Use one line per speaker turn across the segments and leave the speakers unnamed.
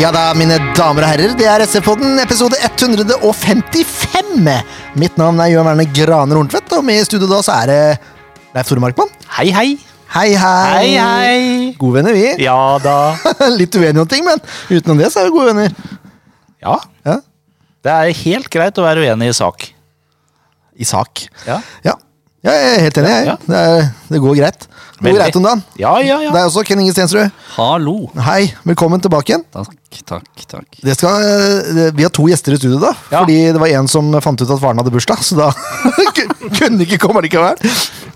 Ja da, mine damer og herrer, det er SF-podden, episode 155! Mitt navn er Jørn Verne Graner Horntvedt, og med i studio da så er det Leif Tore Markmann.
Hei, hei.
Hei, hei!
Hei, hei.
Gode venner, vi.
Ja da.
Litt uenige om ting, men utenom det så er vi gode venner.
Ja,
Ja,
det er helt greit å være uenig i sak.
I sak.
Ja,
Ja, ja jeg er helt enig, jeg.
Ja.
Det, er, det går greit. Det går
Veldig.
greit om dagen.
ja, ja.
Det er også Ken Inge Stensrud.
Hallo.
Hei, velkommen tilbake igjen.
Takk, takk, takk.
Det skal, eh, vi har to gjester i studio, da.
Ja.
Fordi det var en som fant ut at faren hadde bursdag, så da kunne de ikke komme likevel.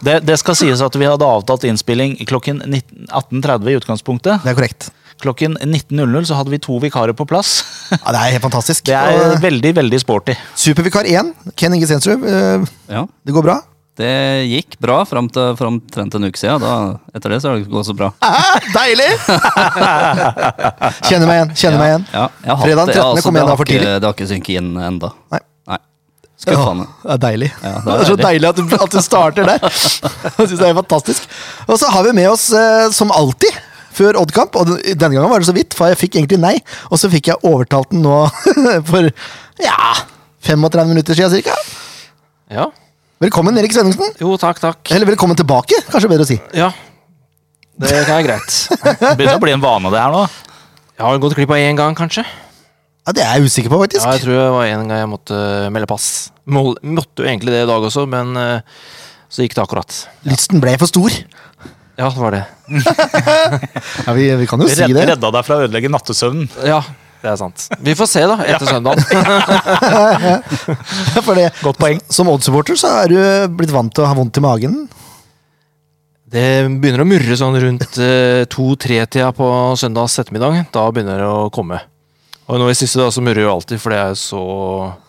Det, det skal sies at vi hadde avtalt innspilling klokken 19 18.30 i utgangspunktet.
Det er korrekt.
Klokken 19.00 så hadde vi to vikarer på plass.
Ja, det er helt fantastisk.
Det
Og,
er veldig, veldig sporty.
eh, Supervikar 1, Ken Inge Sensrud. eh,
Ja,
Det går bra?
det gikk bra fram til fram omtrent en uke siden. Da, etter det så har det ikke gått så bra.
Hæ? Deilig! Kjenner meg igjen. kjenner meg igjen.
Ja, jeg har hatt
Fredag den
det,
13.
altså,
kom
det
jeg da
har
for
ikke-
tidlig.
Det har ikke synket inn ennå.
Nei.
Nei. Skal faen meg.
Ja, det er deilig.
Ja,
det, er så deilig at du, at du starter der. Jeg synes det er helt fantastisk. Og så har vi med oss, eh, som alltid, før Oddkamp, og den- denne gangen var det så vidt, for jeg fikk egentlig nei, og så fikk jeg overtalt den nå for ja, 35 minutter siden cirka.
Ja.
Velkommen, Erik Svenningsen.
Jo, takk, takk.
Eller velkommen tilbake, kanskje bedre å si.
Ja. Det er greit.
Begynner å bli en vane, det her nå.
Jeg har gått glipp av én gang, kanskje.
Ja, Det er jeg usikker på, faktisk.
Ja, jeg tror det var en gang jeg måtte eh, melde pass. Må, måtte jo egentlig det i dag også, men eh, så gikk det akkurat.
Lysten ble for stor.
Ja, det var det.
Ja, vi, vi kan jo si
Redd,
det.
redda deg fra å ødelegge nattesøvnen.
Ja, det er sant. Vi får se, da, etter søndagen.
For det
Godt poeng.
som Odd-supporter så er du blitt vant til å ha vondt i magen.
Det begynner å murre sånn rundt eh, to-tre-tida på søndags ettermiddag. Da begynner det å komme. Og nå i siste da, så murrer det jo alltid, for det er jo så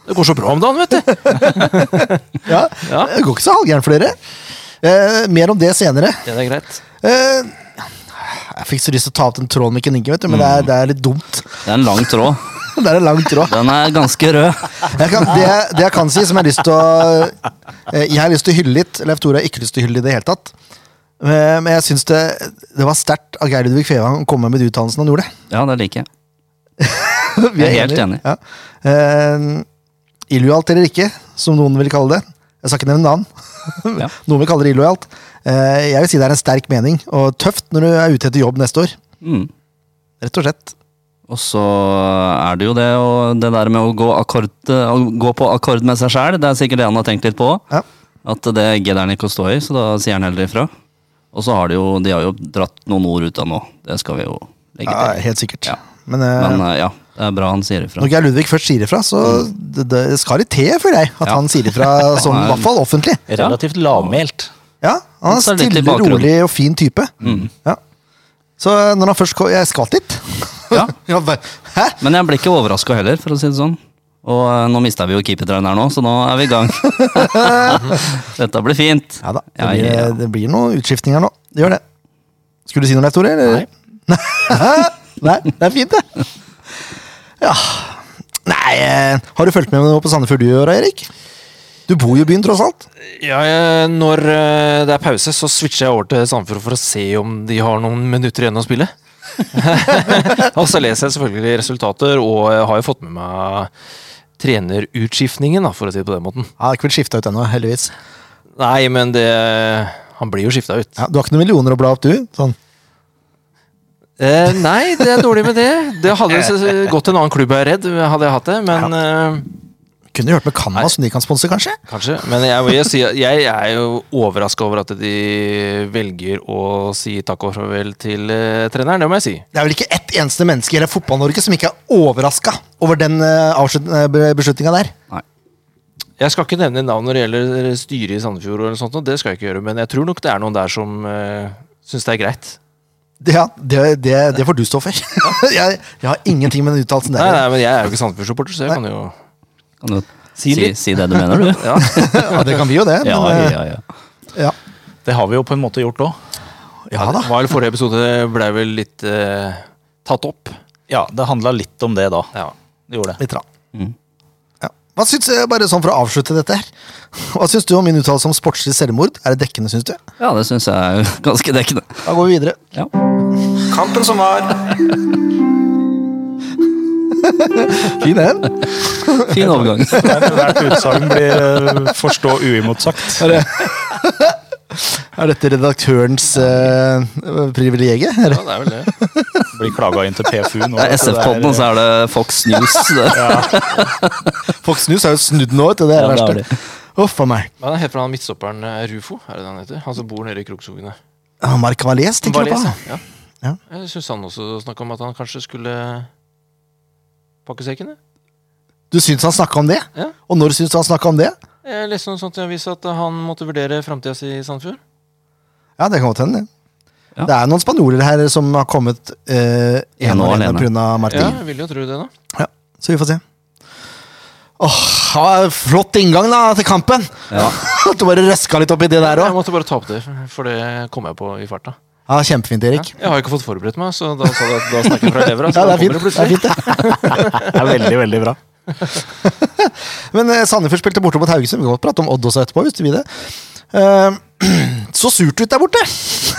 Det går så bra om dagen, vet du!
Ja,
Ja.
Det går ikke så halvgærent for dere. Eh, mer om det senere.
Det er greit.
Eh, jeg fikk så lyst til å ta opp den tråden med Ken Inge, vet du, men det
Mm.
er, det er litt dumt.
Det er en lang tråd.
Det er en lang tråd.
Den er ganske rød.
Jeg kan, det, jeg- det jeg kan si, som jeg har lyst til å eh, Jeg har lyst til å hylle litt. Leif Tore har ikke lyst til å hylle i det hele tatt. Eh, men jeg syns det, det var sterkt av Geir Ludvig Fevang å komme med de uttalelsene han gjorde.
Ja, det liker jeg.
Vi
Jeg er helt enig.
Ja. Eh, illojalt eller ikke, som noen vil kalle det. Jeg skal ikke nevne navn.
Ja.
Noen vil kalle det illojalt. Eh, jeg vil si det er en sterk mening, og tøft når du er ute etter jobb neste år.
Mm.
Rett og slett.
Og så er det jo det, og det der med å gå, akkord, å gå på akkord med seg sjæl, det er sikkert det han har tenkt litt på.
Ja.
At det gidder han ikke å stå i, så da sier han heller ifra. Og så har de jo, de har jo dratt noen ord ut av nå. Det skal vi jo legge
Ja,
til.
helt sikkert.
Ja.
Men, eh,
Men eh, ja, det er bra han sier ifra.
når Geir Ludvig først sier ifra, så det, det skal litt til, føler jeg, at
Mm. Ja.
han sier ifra sånn, i hvert fall offentlig.
Relativt lavmælt.
Ja, Han er
Så er det litt i
stille,
bakgrunnen. Mm.
rolig og fin type. Ja. Så eh, når han først kom Jeg skvatt litt.
Ja.
Jeg bare, Hæ?
Men jeg ble ikke overraska heller, for å si det sånn. Og eh, nå mista vi jo keepertreneren her nå, så nå er vi i gang. Dette blir fint.
Ja da. Det,
Ja,
blir, eh,
ja, ja.
det blir noen utskiftninger nå. Det gjør det. Skulle du si noe, Leif Tore? Nei. Nei, det er fint, det. Ja Nei, eh, har du fulgt med noe på Sandefjord du i år, Erik? Du bor jo i byen, tross alt.
Ja, jeg, når eh, det er pause, så switcher jeg over til Sandefjord for å se om de har noen minutter igjen å spille. og så leser jeg selvfølgelig resultater, og jeg har jo fått med meg trenerutskiftningen, da, for å si det på den måten.
Jeg har ikke blitt skifta ut ennå, heldigvis.
Nei, men det Han blir jo skifta ut.
Ja, du har ikke noen millioner å bla opp, du? Sånn.
Eh, nei, det er dårlig med det. Det hadde s- s- gått til en annen klubb, jeg er redd, hadde jeg hatt det, men eh,
Kunne hørt med Canvas, som de kan sponse, kanskje?
Kanskje, men jeg, må jo si, at jeg er jo overraska over at de velger å si takk og farvel til eh, treneren, det må jeg si.
Det er vel ikke ett eneste menneske i hele Fotball-Norge som ikke er overraska over den eh, beslutninga der.
Nei.
Jeg skal ikke nevne navn når det gjelder eh, styret i Sandefjord, og sånt, og det skal jeg ikke gjøre, men jeg tror nok det er noen der som uh, syns det er greit.
Ja, det, det, det får du stå for. jeg, jeg har ingenting med den uttalelsen der.
Nei, nei, men jeg er jo ikke Sandefjord-supporter, så jeg kan jo
Kan du
Si
si, si,
litt.
det du mener, du?
ja.
Ja, det kan vi jo det.
Ja,
men, eh,
ja, ja.
ja.
Det har vi jo på en måte gjort òg.
Ja da.
Det var vel forrige episode, blei vel litt eh, tatt opp.
Ja, det handla litt om det da.
Ja.
Det gjorde det.
Litt rann.
Mm.
Ja. Hva syns, eh, bare sånn for å avslutte dette her. Hva syns du om min uttalelse om sportslig selvmord? Er det dekkende, syns du?
ja, det syns jeg er jo ganske dekkende.
Da går vi videre.
Ja.
Kampen som var.
Fin en.
Fin overgang.
Hvert utsagn blir eh, forstå uimotsagt.
Er, det, er dette redaktørens eh, privilegium? Er det-
Ja, det er vel det.
Blir klaga inn til PFU nå.
Det er SF-podden, og så er det Fox News. Det.
Fox News har jo snudd nå, vet du. Det er
Ja,
det
det har
verste. Uff a meg.
Hva er det heter han midtstopperen eh, Rufo? Er det det han heter? Han som bor nede i Krokskogene.
Ah, Mark Valais, tenker du på?
Valais, ja.
Ja.
Jeg syns han også snakka om at han kanskje skulle pakke sekken. jeg.
Du syns han snakka om det?
Ja.
Og når syns du han snakka om det?
Jeg leste noe sånt i avisa at han måtte vurdere framtida si i Sandfjord.
Ja, det kan godt hende. det.
Ja.
Det er noen spanjoler her som har kommet eh,
En
ene og
og
alene
alene.
pga.
Ja,
Martin.
jeg vil jo tro det, da.
Ja. Så vi får se. Åh, ha- flott inngang da til kampen!
Ja.
At du bare røska litt opp i det der
Jeg
òg.
måtte bare ta opp det, for det kom jeg på i farta.
Ja, kjempefint, Erik.
Jeg har jo ikke fått forberedt meg, så da, sa jeg at da snakker jeg fra
Ja,
levra. Så
det
da
er
kommer det
fint. Det er
plutselig.
fint det.
Det er veldig, veldig bra.
Men eh, Sandefjord spilte borte mot Haugesund. Vi kan godt prate om Odd også etterpå. hvis du vil det. Eh, så surt ut der borte!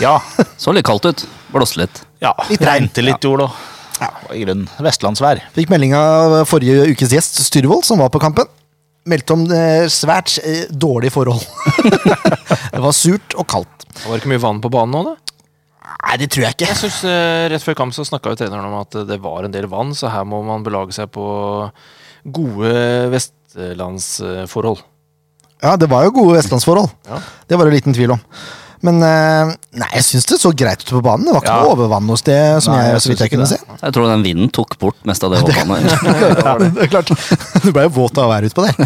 Ja.
Så litt kaldt ut. Blåste litt.
ja.
Litt regn.
Regnet litt jord, og i grunnen vestlandsvær.
Fikk melding av forrige ukes gjest, Styrvold, som var på kampen. Meldte om eh, svært eh, dårlige forhold. det var surt og kaldt.
Det var ikke mye vann på banen nå, da.
Nei, det tror jeg ikke.
Jeg synes, eh, Rett før kamp så snakka jo treneren om at eh, det var en del vann, så her må man belage seg på gode vestlandsforhold.
Ja, det var jo gode vestlandsforhold.
Ja.
Det var det liten tvil om. Men eh, nei, jeg syns det så greit ut på banen. Det var ikke
Ja.
noe overvann hos det, som
Nei,
jeg,
jeg
så vidt
syns
jeg
ikke
kunne
det.
se.
Jeg tror den vinden tok bort mest av det vannet.
det er klart. Du ble jo våt av å være ute på det.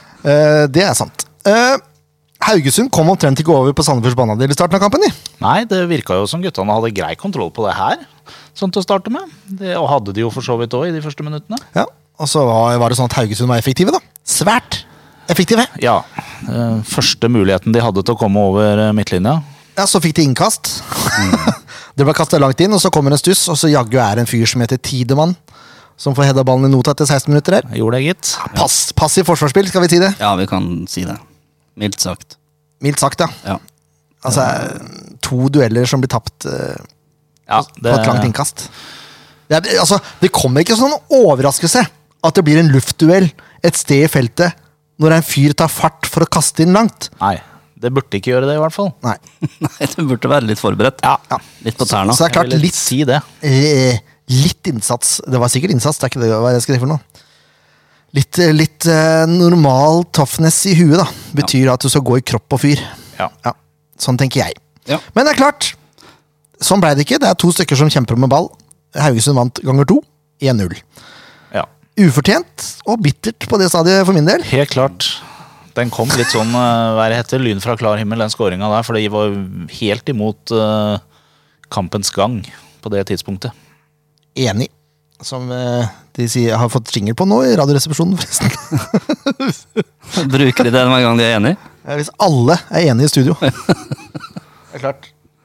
Eh, det er sant. Eh, Haugesund kom omtrent ikke over på Sandefjords banehalvdel i starten av kampen. de.
Nei, det virka jo som guttene hadde grei kontroll på det her, sånn til å starte med. Det, og hadde de jo for så vidt òg i de første minuttene.
Ja. Og så var, var det sånn at Haugesund var effektive, da. Svært effektive.
Ja. eh, Første muligheten de hadde til å komme over eh, midtlinja.
Ja, Så fikk de innkast. Mm. det ble kasta langt inn, og så kommer en stuss, og så jaggu er det en fyr som heter Tidemann, som får heada ballen i nota etter 16 minutter her.
Gjorde det, gitt.
Pass, passiv forsvarsspill, skal vi si det.
Ja, vi kan si det. Mildt sagt.
Mildt sagt, ja.
Ja.
Altså, to dueller som blir tapt eh,
Ja,
på et langt innkast. Det, er, altså, det kommer ikke som noen overraskelse at det blir en luftduell et sted i feltet når en fyr tar fart for å kaste inn langt.
Nei, det burde ikke gjøre det, i hvert fall.
Nei.
Nei, du burde være litt forberedt.
Ja.
Litt på tærne.
Så det er klart
Jeg vil
litt,
si det.
eh, litt innsats Det var sikkert innsats, det er ikke det hva jeg skal si for noe. Litt, eh, litt eh, normal toughness i huet da betyr at du skal gå i kropp og fyr.
Ja.
Ja, sånn tenker jeg.
Ja.
Men det er klart, sånn ble det ikke. Det er to stykker som kjemper med ball. Haugesund vant ganger to. 1-0.
ja.
Ufortjent og bittert på det stadiet for min del.
Helt klart. Den kom litt sånn, eh, hva det heter, lyn fra klar himmel, den skåringa der. For de var helt imot eh, kampens gang på det tidspunktet.
Enig. Som eh, de sier, har fått jingle på nå i Radioresepsjonen, forresten.
Bruker de det hver gang de er enige?
Eh, Hvis alle er enige i studio.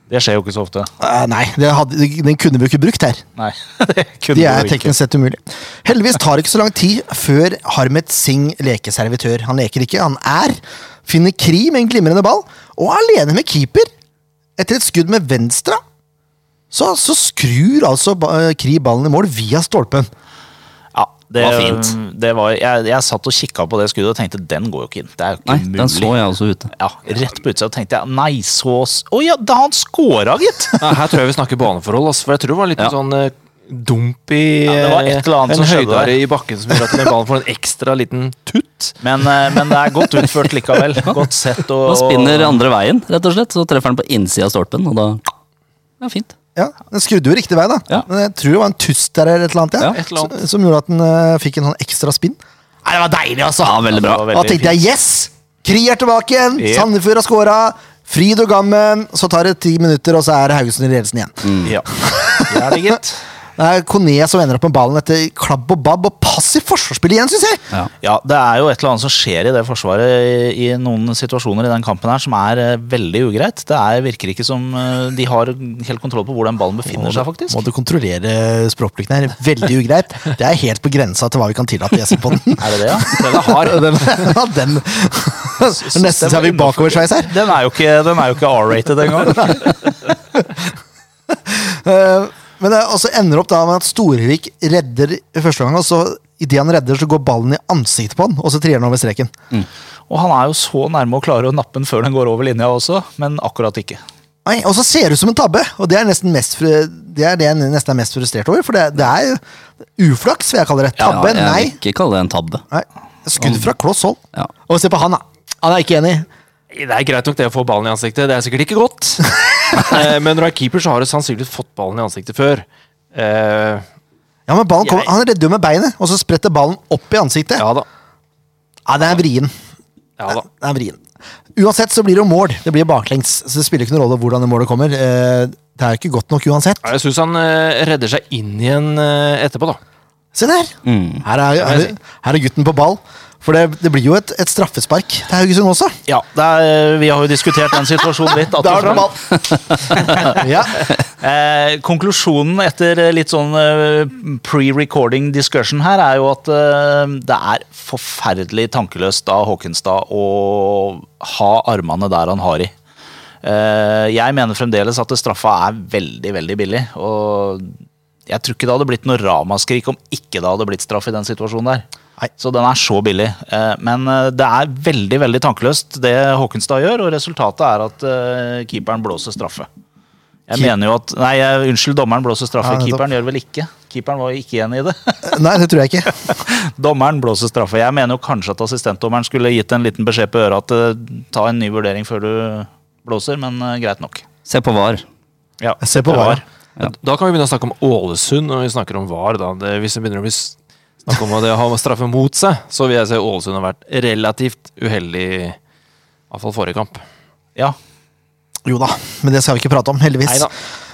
Det skjer jo ikke så ofte.
Eh, nei, det hadde, den kunne vi jo ikke brukt her.
Nei, det kunne
De
det
er
jo ikke.
teknisk sett umulig. Heldigvis tar det ikke så lang tid før Harmet Singh leker servitør. Han leker ikke, han er. Finner Kri med en glimrende ball, og er alene med keeper. Etter et skudd med venstre, så, så skrur altså ba- Kri ballen i mål via stolpen.
Ja, det
var fint.
Det var, jeg, jeg satt og kikka på det skuddet og tenkte den går jo ikke inn. Det er jo ikke
Nei,
mulig.
den så jeg også ute.
Ja, Rett på utsida tenkte jeg nei, så s- Å ja, da han scora, gitt!
Nei, her tror jeg vi snakker baneforhold, altså, for jeg tror det var litt
Ja.
sånn eh, dump i
Ja, det var et eller annet
eh,
som
En
skjedde der.
høydare i bakken som gjør at den ballen får en ekstra liten tutt.
Men, eh, men det er godt utført likevel. Godt sett og
Han spinner andre veien, rett og slett. Så treffer han på innsida av stolpen, og da Ja, fint.
Ja, Den skrudde jo riktig vei, da.
Ja.
Men jeg tror det var en tuss der eller et eller annet. Ja.
Ja,
et eller annet.
Som, som gjorde at den eh, fikk en sånn ekstra spinn. Nei, Det var deilig, altså!
Ja, veldig bra.
Det var
Da tenkte jeg yes! Kri er tilbake igjen! Sandefjord har scora! Fryd og gammen! Så tar det ti minutter, og så er Haugesund i ledelsen igjen.
Ja. Det er det, gitt.
Det er Kone som ender opp med ballen etter klabb og babb og passiv forsvarsspill igjen, syns jeg!
Ja.
Ja, det er jo et eller annet som skjer i det forsvaret i, i noen situasjoner i den kampen her som er eh, veldig ugreit. Det er, virker ikke som eh, de har helt kontroll på hvor den ballen befinner seg, faktisk.
Må du kontrollere språkbruken her. Veldig ugreit. Det er helt på grensa til hva vi kan tillate i SV-podden.
Er det det, ja?
Den er hard.
Den, ja, den. Nesten så har vi bakoversveis her.
Den er jo ikke, den er jo ikke R-rated engang.
Eh, Men det også ender opp da med at Storvik redder første gang, og så idet han redder, så går ballen i ansiktet på han, og så trier han over streken.
Og han er jo så nærme å klare å nappe den før den går over linja også, men akkurat ikke.
Nei, og så ser det ut som en tabbe, og det er nesten mest fru, det er det jeg nesten er mest frustrert over. For det, det er jo uflaks, vil jeg kalle det. Tabbe,
Ja, jeg
nei.
vil ikke kalle det en tabbe.
nei. Skudd fra kloss hold.
Ja.
Og se på han, da. Han er ikke enig.
Det er greit nok det å få ballen i ansiktet, det er sikkert ikke godt. Eh, Men når du er keeper, så har du sannsynligvis fått ballen i ansiktet før. Eh,
Ja, men ballen kommer,
Jeg-
Han redder jo med beinet, og så spretter ballen opp i ansiktet. Ja,
ja da.
det er vrien.
Ja da.
Det er vrien. Uansett så blir det jo mål. Det blir baklengs. Så det spiller ikke noen rolle hvordan det målet kommer. Eh, Det er jo ikke godt nok uansett.
Ja, Jeg syns han eh, redder seg inn igjen eh, etterpå, da.
Se der!
Mm.
Her, er, her, er, her er gutten på ball. For det, det blir jo et, et straffespark til Haugesund også.
Ja, det er, Vi har jo diskutert den situasjonen litt. at og
Der er det
frem.
ball. ja.
Eh, konklusjonen etter eh, litt sånn eh, pre-recording discussion her er jo at eh, det er forferdelig tankeløst av Håkenstad å ha armene der han har i. Eh, jeg mener fremdeles at straffa er veldig, veldig billig. Og jeg tror ikke det hadde blitt noe ramaskrik om ikke det hadde blitt straff i den situasjonen der.
Nei.
Så den er så billig. Eh, Men eh, det er veldig veldig tankeløst det Håkenstad gjør, og resultatet er at eh, keeperen blåser straffe. Jeg
Keep-
mener jo at Nei, jeg, unnskyld, dommeren blåser straffe.
Ja, nettopp.
Keeperen gjør vel ikke. Keeperen var jo ikke enig i det.
Nei, det tror jeg ikke.
dommeren blåser straffe. Jeg mener jo kanskje at assistentdommeren skulle gitt en liten beskjed på øret at eh, ta en ny vurdering før du blåser, men eh, greit nok.
Se på VAR.
Ja,
Se på
det
VAR.
var.
Da kan vi begynne å snakke om Ålesund når vi snakker om VAR. da. Det, hvis det begynner å bli s- snakk om det å ha straffe mot seg, så vil jeg si Ålesund har vært relativt uheldig, i hvert fall forrige kamp.
Ja,
Jo da, men det skal vi ikke prate om, heldigvis.
Neida.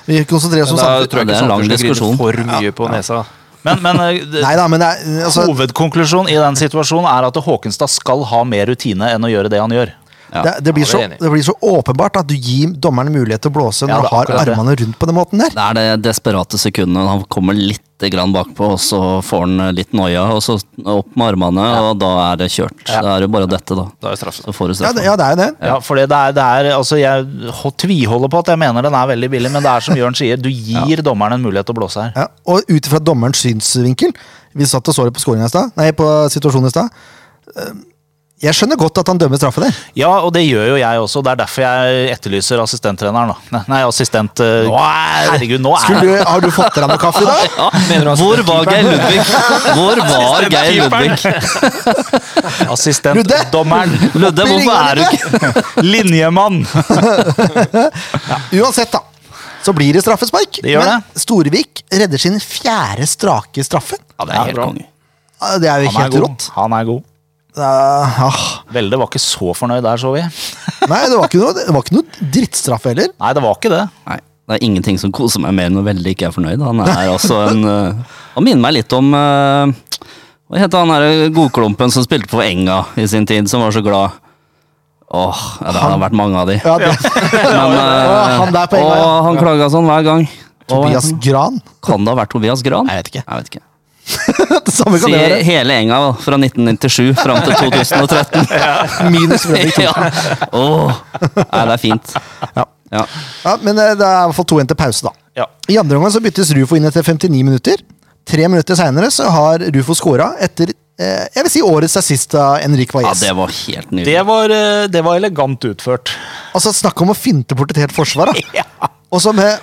Vi konsentrerer oss om
Men da
samfunnet.
tror jeg
det er
ikke
en lang
Sandefjord skal grine
diskusjon.
for mye på nesa.
Men, men eh, det-
Neida, men det er, altså,
Hovedkonklusjonen i den situasjonen er at Håkenstad skal ha mer rutine enn å gjøre det han gjør.
Ja.
det, det, blir
Ja, det
så,
er enig.
det blir så åpenbart at du gir dommerne mulighet til å blåse
Ja,
når du
det er
har
akkurat det.
armene rundt på den måten der.
Det er det desperate sekundet han kommer litt grann bakpå, og så får han litt noia, og så opp med armene, og da er det kjørt. Da er det bare dette, da.
Da er det straffe.
Så får du
Ja, det,
straffa.
ja, det er jo det.
Ja, for det er, det er, altså Jeg h- tviholder på at jeg mener den er veldig billig, men det er som Jørn sier, du gir dommeren en mulighet til å blåse her.
Ja, og ut fra dommerens synsvinkel Vi satt og så det på scoringen i stad, nei, på situasjonen i stad. Eh, Jeg skjønner godt at han dømmer straffe der.
Ja, og det gjør jo jeg også. Det er derfor jeg etterlyser assistenttreneren. da. Nei, Nei, assistent eh, Herregud, nå er
Skulle du, har du fått deg noe kaffe i dag?
Hvor var Geir Ludvig? Hvor var Geir Ludvig?
Ludde!
assistentdommeren!
Ludde, hvorfor er du ikke
Linjemann!
Uansett, da. Så blir det straffespark.
Det gjør
men Storvik redder sin fjerde strake straffe.
Ja, det er helt konge.
Ah, Det er jo
Han er
helt
god.
rått.
Han er god.
Eh, ah.
Velde var ikke så fornøyd der, så vi.
Nei, det var ikke noe, det var ikke noe drittstraff heller.
Nei, det var ikke det.
Nei, det er ingenting som koser meg mer enn når Velde ikke er fornøyd. Han er altså en eh, Han minner meg litt om eh, Hva heter han her eh, godklumpen som spilte på Enga i sin tid, som var så glad? Åh, ja, det har vært mange av de.
Ja, det,
Men, eh,
Åh, han der på Enga,
åh,
ja.
han klaga sånn hver gang. Åh,
Tobias Gran.
Kan det ha vært Tobias Gran?
Jeg vet ikke.
Jeg vet ikke.
Det samme kan
Si
det være.
hele Enga da, fra 1997 fram til 2013.
Minus Fredrik.
ja. Åh. Nei, det er fint.
Ja.
Ja.
Ja, men eh, det er i hvert fall 2-1 til pause, da.
Ja.
I andre omgang så byttes Rufo inn etter 59 minutter. Tre minutter seinere så har Rufo scora etter eh, jeg vil si årets assist av Henrik
ja,
Valles.
det var helt nydelig.
Det var, eh, det var elegant utført.
altså, Snakk om å finte bort et helt forsvar, da. Og så med,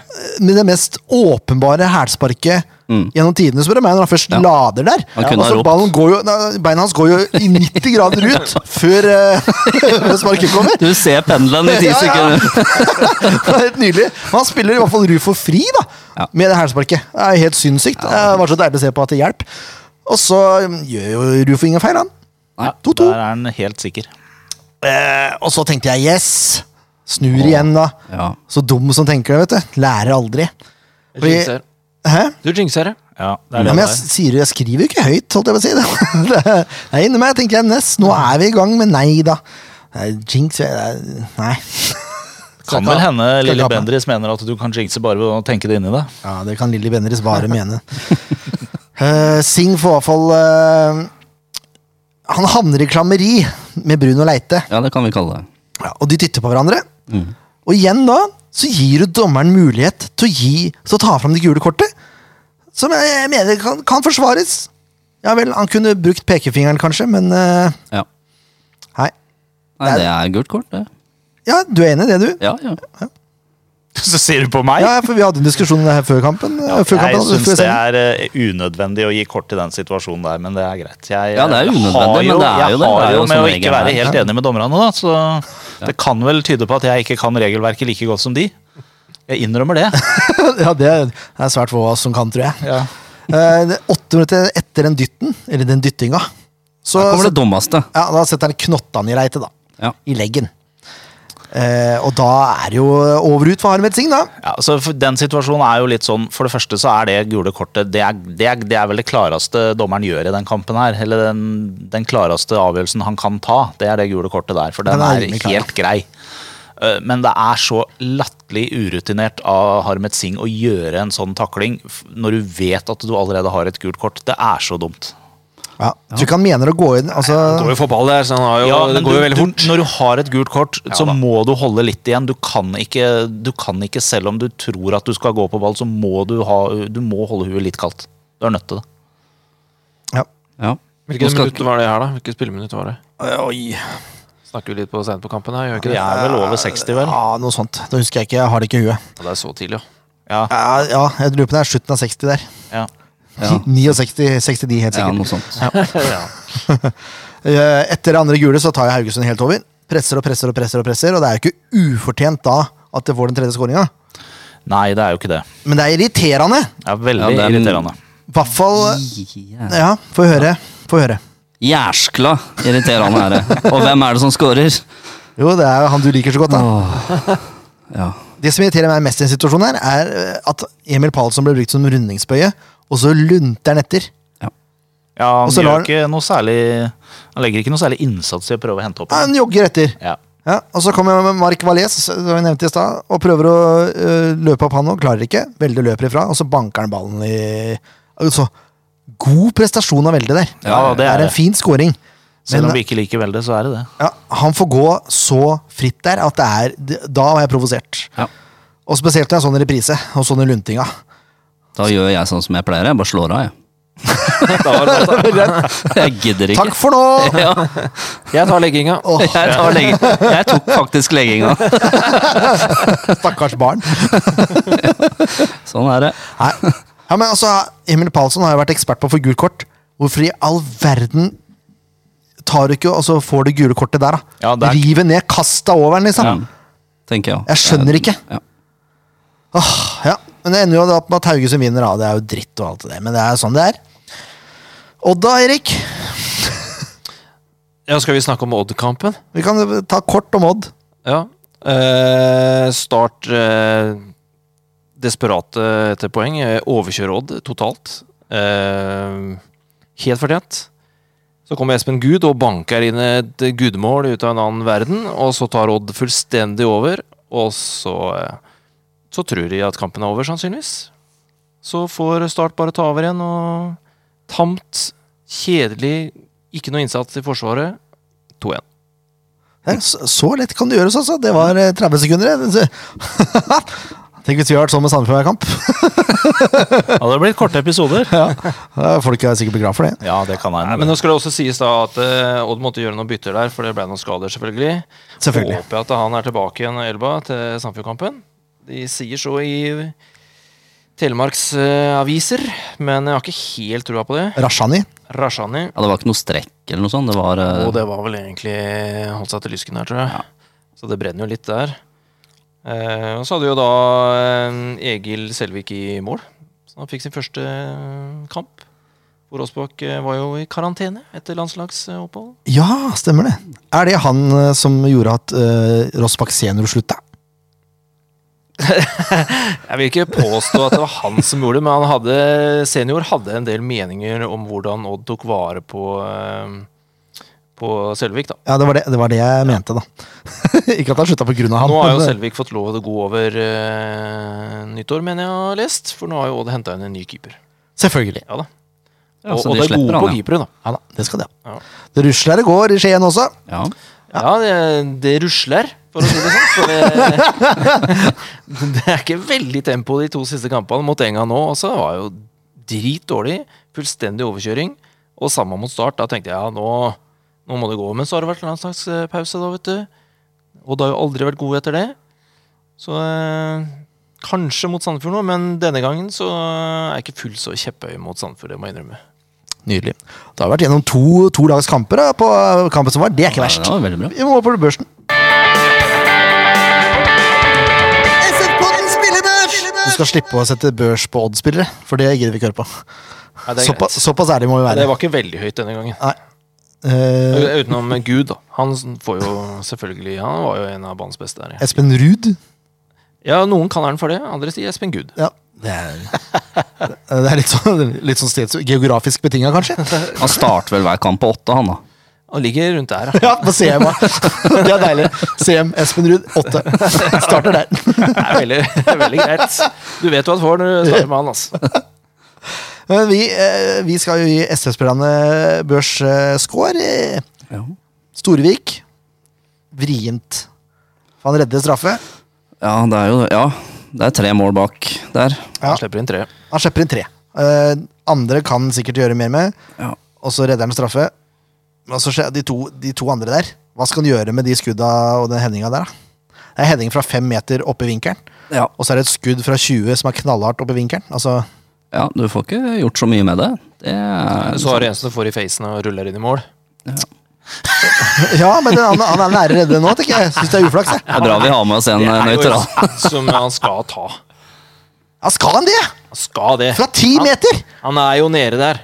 med det mest åpenbare hælsparket gjennom tidene, spør du meg, når han først lader der.
Mm. Han kunne
Og
ha
så
ropt.
ballen går jo, nei, Beina hans går jo i 90 grader ut før, eh, før sparket kommer.
Du ser pendelen i ti
Ja, ja.
sekunder.
Det er helt nydelig. Men han spiller i hvert fall Rufo fri, da.
Ja.
Med det hælsparket. Det er helt sinnssykt. det var så deilig å se på at det hjelp. Og så mm, gjør jo Rufo ingen feil, han.
Nei,
2-2.
Der er han helt sikker.
Eh, og så tenkte jeg yes! Snur igjen, da.
Ja.
Så dum som tenker det, vet du. Lærer aldri.
Du jinxer.
Hæ?
Du jinxer det.
Ja, det
Ja,
er det
men
det
jeg,
er.
sier, jeg skriver jo ikke høyt, holdt jeg på å si. Det, det er inni meg. Jeg tenker Ness, nå er vi i gang, men nei da. Nei, Jinx jeg- Nei.
Kan vel hende
Skal
Lilly
ikke ha på.
Bendriss mener at du kan jinxe bare ved å tenke det inni deg.
Ja, det kan Lilly Bendriss bare mene. Eh, Singh får i hvert fall eh, Han havner i klammeri med Bruno Leite,
Ja, det kan vi kalle det.
Mm.
ja, og de dytter på hverandre. Og igjen da så gir du dommeren mulighet til å, gi, til å ta fram det gule kortet. Som jeg jeg mener kan, kan forsvares. Ja vel, han kunne brukt pekefingeren kanskje, men eh,
Ja.
nei.
Nei, det er gult kort, det.
Ja, du er enig i det, du?
Ja, ja.
Så ser du på meg?
Ja, for vi hadde en diskusjon her før kampen. eh, før kampen
Jeg
altså, før
syns det
sending.
er eh, unødvendig å gi kort til den situasjonen der, men det er greit. Jeg, eh,
Ja, det er unødvendig,
har
men det er
jeg
jo det. Det
har jo
er jo
med
som
å
regel
ikke være
her.
helt enig med dommerne, da, så det kan vel tyde på at jeg ikke kan regelverket like godt som de. Jeg innrømmer det.
ja, det er- det er svært få av oss som kan, tror jeg. Eh, det- åtte minutter etter den dytten, eller den dyttinga, så,
Her kommer
så
det dummeste.
ja, da setter han knottene i reitet, da.
Ja.
I leggen. Eh, og da er det jo over ut for Harmed Singh, da.
Ja, så for- Den situasjonen er jo litt sånn For det første så er det gule kortet Det er, det er, det er vel det klareste dommeren gjør i den kampen her. Eller den, den klareste avgjørelsen han kan ta. Det er det gule kortet der. For den
Den er
er
rimelig klar, ja.
helt grei. Eh, Men det er så latterlig urutinert av Harmet Singh å gjøre en sånn takling f- når du vet at du allerede har et gult kort. Det er så dumt.
Ja. Tror ikke han mener å gå inn
Han går
altså,
jo for ball der, så han har jo,
men
det går
du-
jo veldig fort.
Du, når du har et gult kort, så
da.
må du holde litt igjen. Du kan, ikke, du kan ikke, selv om du tror at du skal gå på ball, så må du, ha, du må holde huet litt kaldt. Du er nødt til det.
ja.
Ja. Nå
Hvilket
skal-
minutt var det her, da? Hvilket spilleminutt var det? Snakker vi litt på sent på kampen her, gjør vi ikke det?
er vel over 60, vel?
ja, noe sånt. Da husker jeg ikke. Jeg har det ikke i huet.
Ja, det er så tidlig, ja.
Ja.
Ja, ja, jeg lurer på det er slutten av 60 der.
ja.
69, 69 helt
ja,
sikkert.
noe sånt.
Eh, Etter det andre gule så tar jeg Haugesund helt over. Presser og presser og presser, og presser Og det er jo ikke ufortjent da at det får den tredje skåringa.
Nei, det er jo ikke det.
Men det er irriterende!
Det er veldig
Ja, det er-
irriterende.
I hvert fall
Ja.
Ja, få høre. Få høre.
Jæskla irriterende er det. Og hvem er det som scorer?
Jo, det er jo han du liker så godt, da.
Ja.
Det som irriterer meg mest i den situasjonen, her er eh, at Emil Palsson ble brukt som rundingsbøye, og så lunter han etter.
Ja,
Og
han
så
gjør
lar-
ikke noe særlig Han legger ikke noe særlig innsats i å prøve å hente opp
Ja,
den.
Han jogger etter.
Ja.
Ja, og så kommer Mark Valais, som vi nevnte i stad, og prøver å øh, løpe opp han òg. Klarer ikke. Velde løper ifra, og så banker han ballen i Altså, god prestasjon av Velde der.
Ja, det er
en
det.
fin scoring.
Selv om
Men
vi ikke liker veldig, så er det det.
ja, han får gå så fritt der at det er Da var jeg provosert.
Ja.
Og spesielt når jeg så den i reprise, og så den luntinga.
Da gjør jeg sånn som jeg pleier, jeg bare slår av, jeg.
Da var det godt, da.
Jeg gidder ikke.
Takk for nå!
Ja,
Jeg tar legginga.
jeg, tar legging. jeg tok faktisk legginga.
Stakkars barn.
Sånn er det.
Nei. Ja, men altså, Emil Palsson har jo vært ekspert på å få gult kort. Hvorfor i all verden tar du ikke og så får du gule kortet der, da?
Ja, det er-
Rive ned, kast deg over den, liksom.
Ja, tenker jeg også.
Jeg skjønner ikke.
Ja.
Åh, ja. Men det ender jo opp med at Haugesund vinner, da. Det er jo dritt og alt det der, men det er jo sånn det er. Odda, Erik.
Ja, skal vi snakke om Odd-kampen?
Vi kan ta kort om Odd.
Ja. Eh, start eh, desperate etter poeng. Eh, Overkjøre Odd totalt. Eh, helt fortjent. Så kommer Espen Gud og banker inn et gudmål ut av en annen verden. Og så tar Odd fullstendig over, og så eh, Så tror de at kampen er over, sannsynligvis. Så får Start bare ta over igjen, og tamt, kjedelig, ikke noe innsats i forsvaret. 2-1.
Ja, Så så lett kan det gjøres, altså. Det var eh, 30 sekunder. det. Så- Tenk hvis vi hadde vært sånn med Sandefjord hver kamp.
Ja, det blir korte episoder.
Da er Folk er sikkert glad for det.
Ja, det kan
Nei,
være.
men nå skal det også sies da at eh, Odd måtte gjøre noen bytter der, for det ble noen skader, selvfølgelig.
Selvfølgelig.
Håper jeg at han er tilbake igjen, Elba, til Sandfjordkampen. De sier så i Telemarks eh, aviser, men jeg har ikke helt trua på det.
Rashani.
Rashani
Ja, det var ikke noe strekk eller noe sånt. Det var eh,
Og det var vel egentlig holdt seg til lysken her, tror jeg. Så det brenner jo litt der. Eh, og så hadde jo da eh, Egil Selvik i mål. Så han fikk sin første eh, kamp. Hvor Aasbakk eh, var jo i karantene etter landslagsopphold.
Ja, stemmer det. Er det han eh, som gjorde at uh, Rossbakk senior slutta?
Jeg vil ikke påstå at det var han som gjorde det, men han hadde, senior hadde en del meninger om hvordan Odd tok vare på, eh, på Selvik. da.
Ja, det var det, det var det jeg mente, da. Ikke at han slutta på grunn av han.
Nå har jo
men- eh,
Selvik fått lov til å gå over eh, nyttår, mener jeg har lest. For nå har jo Odd henta inn en ny keeper.
Selvfølgelig.
Ja da.
Ja,
og
så
og
de
det er
slipper
gode
han,
på
ja.
keepere, da.
Ja da, det skal de ha.
Ja.
Det rusler det går i Skien også.
ja.
Ja, det, det rusler, for for å si det sånn. For det, det er ikke veldig tempo de to siste kampene. Mot Enga nå også var jo dritdårlig. Fullstendig overkjøring. Og samme mot start. Da tenkte jeg ja, nå, nå må det gå. Men så har det vært landslagspause, eh, da, vet du. Og det har jo aldri vært gode etter det. Så eh, kanskje mot Sandefjord nå, men denne gangen så er jeg ikke fullt så kjepphøy mot Sandefjord, det må jeg innrømme.
Nydelig. Det har vært gjennom to, to dags kamper da, på eh, kampen som var. Det er ikke
Ja,
verst.
det var veldig bra.
Vi må på børsen. Du skal slippe å sette børs på oddspillere, for det gidder vi ikke høre på.
Nei, det, er greit.
Såpass, såpass ærlig må vi
Nei, det
være.
var ikke veldig høyt denne gangen.
Nei. Eh,
Utenom Gud, da. Han får jo selvfølgelig Han var jo en av banens beste der. ja.
Espen Ruud.
Ja, noen kaller han for det, andre sier Espen Gud.
Ja, det er, det er litt sånn, litt sånn steds, geografisk betinga, kanskje.
Han starter vel hver kamp på åtte, han da.
Han ligger rundt der, ja.
Ja, på CM. da. Det er deilig. CM Espen Ruud, åtte. Starter der.
Det er veldig, veldig greit. Du vet hva du får når du starter med han, altså.
Men vi, eh, vi skal jo gi SF-spillerne eh, børsscore.
Ja.
Storvik. Vrient. For han redder straffe.
ja, det er jo Ja, det er tre mål bak der.
Ja.
Han slipper inn tre.
Han slipper inn tre. Eh, andre kan sikkert gjøre mer med,
Ja.
og så redder han straffe. Men så skjer de to, de to andre der. Hva skal han gjøre med de skudda og den headinga der, da? Det er heading fra fem meter oppe i vinkelen,
Ja.
og så er det et skudd fra 20 som er knallhardt oppe i vinkelen. Altså,
ja, du får ikke gjort så mye med det. Det er
Så har du en som du får i facen og ruller inn i mål.
ja, men den, han, han er nære redde nå, tenker jeg. Syns det er uflaks, jeg.
Det er bra vi har med oss en
Det
eh,
er jo
nøytral.
Som han skal ta.
Ja, skal han det?
Han skal det.
Fra ti
Han-
meter!
Han er jo nede der.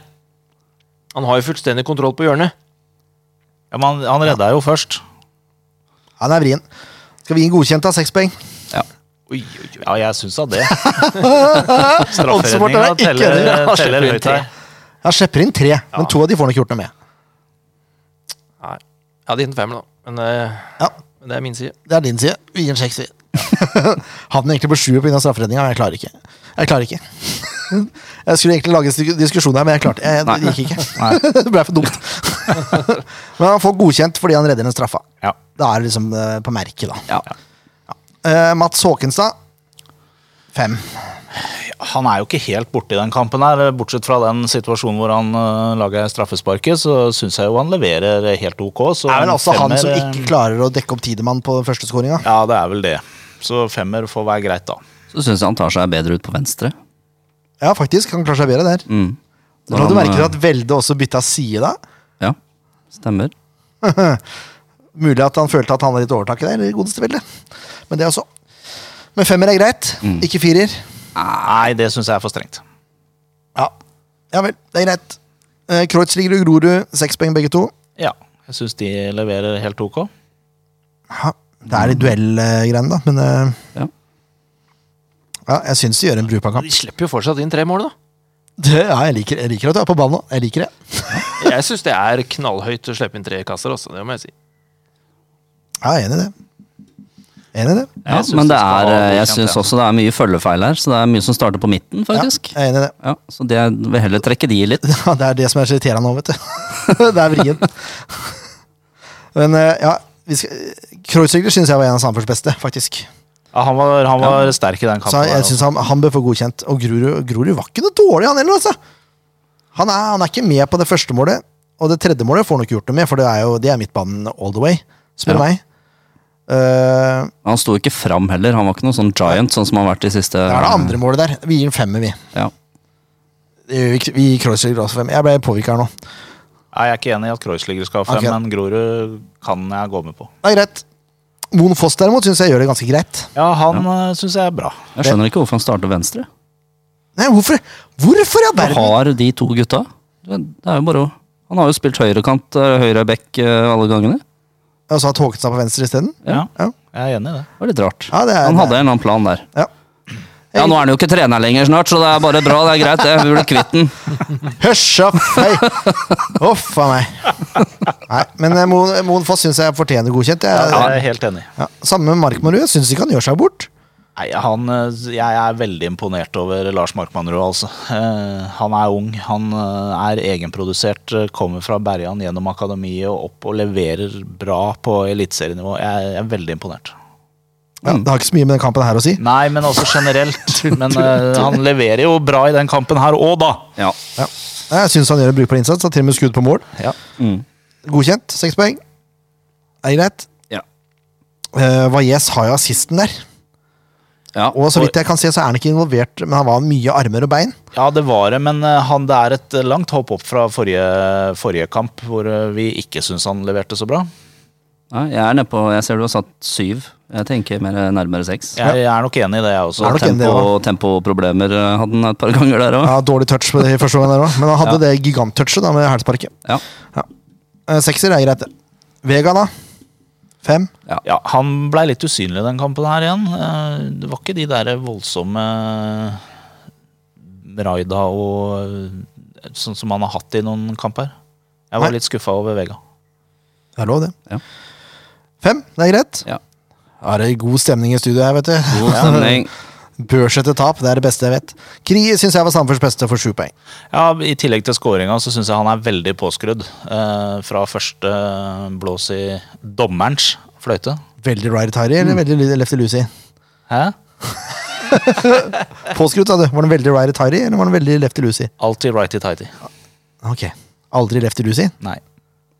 Han har jo fullstendig kontroll på hjørnet.
Ja, men han- han redda jo først.
Han er vrien. Skal vi gi en godkjent av seks poeng?
Oi, oi, oi.
Ja, jeg syns da det.
Oddsporteren
Strafferedninga
er ikke enig.
teller,
Han slipper
teller
inn
høyt
tre.
her.
Han slipper inn tre, men to av de får nok gjort noe med.
Nei. Jeg hadde gitt den fem, da. Men eh,
Ja,
men det er min side.
Det er din side. Vi gir en sjekk, sier Havner egentlig på sjuer pga. strafferedninga, men jeg klarer ikke. Jeg klarer ikke. Jeg skulle egentlig lage en stykke diskusjon her, men jeg klarte jeg,
Nei.
Det gikk ikke. Det ble for dumt. Men han får godkjent fordi han redder den straffa.
Ja.
Da er det liksom eh, på merket, da.
Ja.
Eh, Mats Håkenstad. Fem.
Han er jo ikke helt borte i den kampen her. Bortsett fra den situasjonen hvor han øh, lager straffesparket, så syns jeg jo han leverer helt ok. Så
Det er vel
en
også han
femmer,
som
eh?
øh,
ikke klarer å dekke opp Tidemann på den første skåringa.
Ja, det er vel det. Så femmer får være greit, da.
Så syns jeg han tar seg bedre ut på venstre.
Ja, faktisk. Han klarer seg bedre der.
Mm.
Så la
Han,
du merke til
eh,
at Velde også bytta side da?
Ja, stemmer.
Mulig at han følte at han hadde litt overtaket der, eller godeste Velde. Men det også. Men femmer er greit. Ikke firer.
Nei, det syns jeg er for strengt.
Ja. ja vel, det er greit. Eh, Kreuzliger og Grorud, seks poeng begge to.
Ja, jeg syns de leverer helt ok.
Ja, det er de duellgreiene, da, men eh,
Ja.
ja, jeg syns de gjør en brukbar kamp.
De slipper jo fortsatt inn tre mål, da.
Det, ja, jeg liker, jeg liker at du er på ballen nå. Jeg liker det.
Jeg syns det er knallhøyt å slippe inn tre kasser også, det må jeg si.
Ja, jeg er enig i det. Enig i det.
Ja,
Jeg synes
men det
det
er,
skal ha
eh, jeg
godkjent,
syns
ja.
også det er mye følgefeil her, så det er mye som starter på
Ja,
midten, faktisk.
jeg er enig i det.
Ja, Så det vil heller trekke de litt.
Ja, det er det som er så irriterende nå, vet du. det er vrient. Men eh, ja, vi skal- Kreuzliger syns jeg var en av Sandefjords beste, faktisk.
Ja, han var, han var sterk i den kampen.
Så jeg,
der,
jeg
altså.
synes han, han bør få godkjent. Og Grorud, Grorud var ikke noe dårlig, han heller. altså. Han er, han er ikke med på det første målet, og det tredje målet får han ikke gjort noe med, for det er jo det er midtbanen all the way, spør
Ja.
meg. Eh,
Han sto ikke fram heller, han var ikke noen sånn giant sånn som han har vært de siste
det er det andre målet der. Vi gir en femmer, vi.
Ja.
Det gjør Vi ikke- vi gir Kreuzliger også fem. Jeg ble påvirka her nå.
Nei, jeg er ikke enig i at Kreuzliger skal ha fem,
Ok.
men Grorud kan jeg gå med på.
Det er greit. Moen Foss derimot syns jeg gjør det ganske greit.
Ja, han ja. syns jeg er bra.
Jeg skjønner ikke hvorfor han starter venstre.
Nei, hvorfor, hvorfor i all
Han
verden?
har de to gutta. Det er jo bare å Han har jo spilt høyrekant, eh, høyre back eh, alle gangene.
Altså at Håkenstad på venstre isteden?
Ja.
Ja.
Jeg er enig i det.
Det var litt rart.
Ja, det er-
han hadde en eller annen plan der.
Ja.
Ja, nå er han jo ikke trener lenger snart, så det er bare bra. Det er greit, det. Vi blir kvitt den.
Hysj opp! Hei! Huff a meg. Nei, men eh, Moen, Moen Foss syns jeg fortjener godkjent. Jeg,
Jeg er helt enig.
Ja, samme med Markmanrud. Syns ikke han gjør seg bort.
Nei, han, eh, jeg er veldig imponert over Lars Markmannrud, altså. Eh, Han er ung, han eh, er egenprodusert, eh, kommer fra Berjan gjennom akademiet og opp og leverer bra på eliteserienivå. Jeg er veldig imponert.
Ja, det har ikke så mye med den kampen her å si.
Nei, men også generelt. Men eh, han leverer jo bra i den kampen her òg, da.
Ja.
Ja. Jeg syns han gjør en brukbar innsats. Har til og med skudd på mål. Godkjent. Seks poeng. Det er greit.
Ja.
Uh, Valles har jo assisten der.
ja.
Og så vidt jeg kan se, så er han ikke involvert, men han var mye armer og bein.
Ja, det var det, men eh, han, det er et eh, langt hopp opp fra forrige, forrige kamp, hvor eh, vi ikke syns han leverte så bra.
Nei, jeg er nede på, jeg ser du har satt syv. Jeg tenker mer nærmere seks.
Jeg, jeg er nok enig i det, jeg også.
Er nok enig,
Tempo,
ja.
tempoproblemer eh, hadde han et par ganger der òg.
Ja, dårlig touch på det i første gang der òg, men han hadde det giganttouchet da med hælsparket.
Ja.
Eh, Sekser er greit, det. Vega, da? Fem?
Ja, han blei litt usynlig den kampen her igjen. Eh, Det var ikke de der voldsomme eh, raida og eh, sånn som han har hatt i noen kamper. Jeg
Nei.
var litt skuffa over Vega.
Det er lov, det.
Ja.
Fem, det er greit.
Ja.
Da er det god stemning i studio her, vet du.
God stemning.
Børs etter tap, det er det beste jeg vet. Kri syns jeg var Sandefjords beste for sju poeng.
Ja, I tillegg til skåringa så syns jeg han er veldig påskrudd. eh, Fra første eh, blås i dommerens fløyte.
Veldig right Harry, eller
Mm.
veldig lefty Lucy?
Hæ?
Påskrutt, sa du. Var den veldig right Harry, eller var den veldig lefty Lucy?
Alltid righty-tighty.
Ok. Aldri lefty Lucy?
Nei.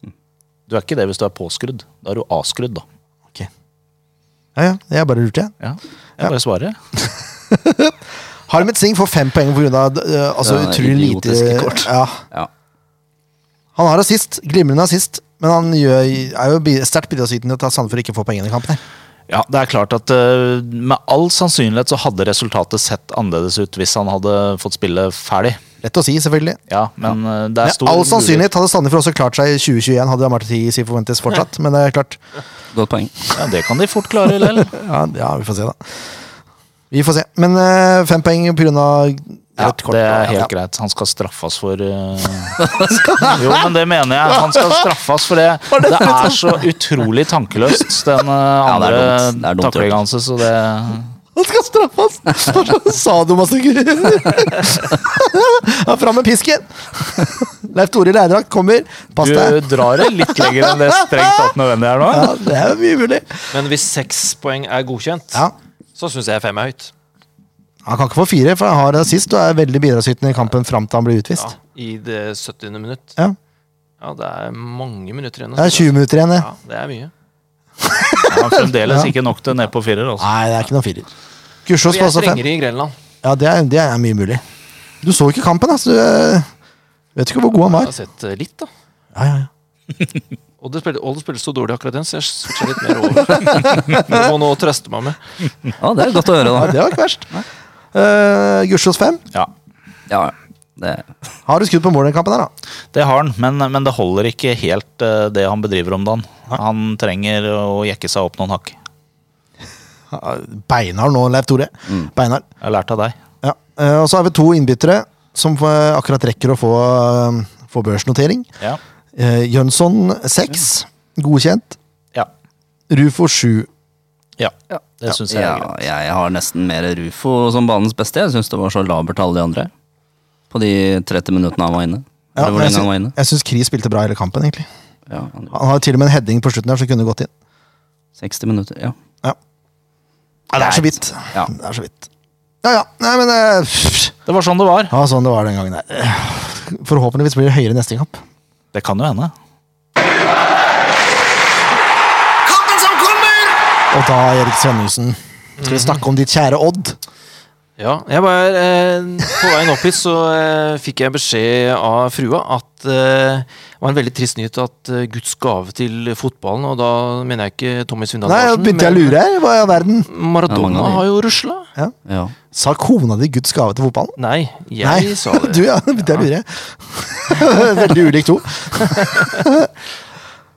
Mm. Du er ikke det hvis du er påskrudd. Da er du avskrudd, da.
Ok. Ja, ja. Jeg bare lurte, jeg.
Ja. Jeg bare svarer.
Harmet Singh får fem poeng pga. Uh, altså,
Ja,
utrolig
idiotiske
lite
kort.
Ja.
Ja.
Han har assist, glimrende assist, men han gjør, er jo bi- sterkt bidragsytende til at Sandefjord ikke får poengene i kampen. her.
Ja, det er klart at eh, Med all sannsynlighet så hadde resultatet sett annerledes ut hvis han hadde fått spille ferdig.
Lett å si, selvfølgelig.
Ja, men eh, det er
Med
stor
all sannsynlighet hadde Sandefjord også klart seg i 2021, hadde Amarty Sifuentes fortsatt. Men det er klart
Godt poeng.
Ja, Det kan de fort klare, Lell.
Ja, ja vi får se, da. Vi får se. Men eh, fem poeng pga.
Ja,
rødt kort.
det er helt
Ja.
greit. Han skal straffes for eh, Jo, men det mener jeg. Han skal straffes for det. Det er så utrolig tankeløst, den eh,
det
andre
er dumt. Det er dumt gjort.
taklinga hans. Så det
Han skal straffes! Sadomassaker. ja, fram med pisken! Leif Tore i leirdrakt kommer. Pass deg.
Du drar det litt lenger enn det strengt tatt nødvendig er nå.
Ja, det er jo mye mulig.
Men hvis seks poeng er godkjent,
Ja.
så syns jeg fem er høyt.
Han kan ikke få fire, for han har assist og er veldig bidragsytende i kampen fram til han blir utvist.
Ja, I det 70. minutt.
Ja.
Ja, det er mange minutter igjen. å
Det er
spille.
20 minutter igjen, det.
Ja, det er mye.
Ja, fremdeles ikke nok til ned på firer. Altså.
Nei, det er ikke noen firer. Kursås
Vi
på
er
også fem.
strengere i Grenland.
Ja, det er, det er mye mulig. Du så ikke kampen, altså. Du eh, vet ikke hvor god han
Jeg
var.
har sett eh, litt, da.
Ja, ja, ja.
Og det spiller, og det spiller så dårlig akkurat den, så jeg switcher litt mer over. Det må nå trøste meg med.
Ja, det er godt å høre,
ja
da.
det var ikke verst. Uh, Gussiås 5.
Ja,
Ja, det,
Har du skudd på mål i den kampen her, da?
det har han, men, men det holder ikke helt eh, det han bedriver om dagen. Han trenger å jekke seg opp noen hakk.
Beinar nå, Leif Tore. Beinar.
Jeg har lært av deg.
Mm. Ja. eh, og så har vi to innbyttere som eh, akkurat rekker å få, eh, få børsnotering.
Ja.
Uh, Jønsson 6. Godkjent.
Ja.
Rufo 7.
ja. Det syns jeg
ja,
er greit.
jeg har nesten mer Rufo som banens beste. Jeg syns det var så labert alle de andre. På de 30 minuttene han var inne.
Ja,
Eller hvor
men
lenge han var
jeg,
inne.
sy- jeg syns Kri spilte bra hele kampen, egentlig.
Ja, han-
Han har til og med en heading på slutten der som kunne gått inn.
60 minutter, ja.
Ja. ja det er så vidt.
Ja.
Det er så vidt. Ja ja. Nei, men eh, pff.
Det var sånn det var.
Ja, sånn det var den gangen der. Forhåpentligvis blir det høyere neste kamp.
Det kan jo hende.
Og da, Erik Svenningsen, skal vi
Mhm.
snakke om ditt kjære Odd.
Ja, jeg var eh, På veien opp hit så eh, fikk jeg beskjed av frua at eh, det var en veldig trist nyhet at eh, Guds gave til fotballen, og da mener jeg ikke Tommy Svindal
Nei, nå begynte jeg å lure her. Hva i all verden?
men
Ja, mange
Maradona
av de.
har jo rusla.
ja.
Sa kona di Guds gave til fotballen?
Nei, jeg
Nei,
sa det.
du ja. nå Begynte jeg å lure. Veldig ulik to.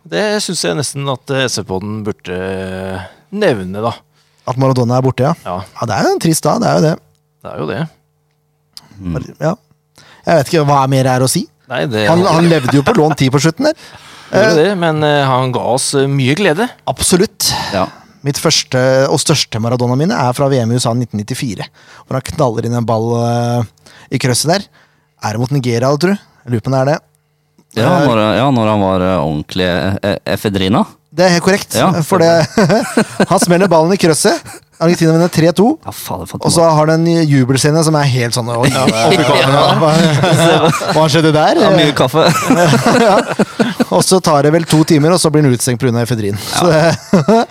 Det syns jeg nesten at eh, SV-podden burde nevne, da.
At Maradona er borte, ja.
Ja,
Ja, Det er jo en trist dag. Det er jo det.
det er jo det.
Ja. Jeg vet ikke hva mer er å si.
Nei, det
Han, han levde jo på lån ti på slutten der.
gjorde det, men eh, han ga oss eh, mye glede.
Absolutt.
ja.
Mitt første og største Maradona minne er fra VM i USA 1994. Hvor han knaller inn en ball eh, i krøsset der. Er det mot Nigeria, tror du? Jeg lurer på om det er det.
ja når, ja, når han var eh, ordentlig eh, eh, efedrina.
Det er helt korrekt.
Ja.
for det, han smeller ballen i krøsset. Argentina vinner 3-2.
Ja, fader, for at
Og så har den jubelscene som er helt sånn Oi, oppi kaffen, ja. Hva, hva skjedde der?
Ja, mye kaffe.
ja. Og så tar det vel to timer, og så blir han utestengt pga. efedrin. Så det, ja,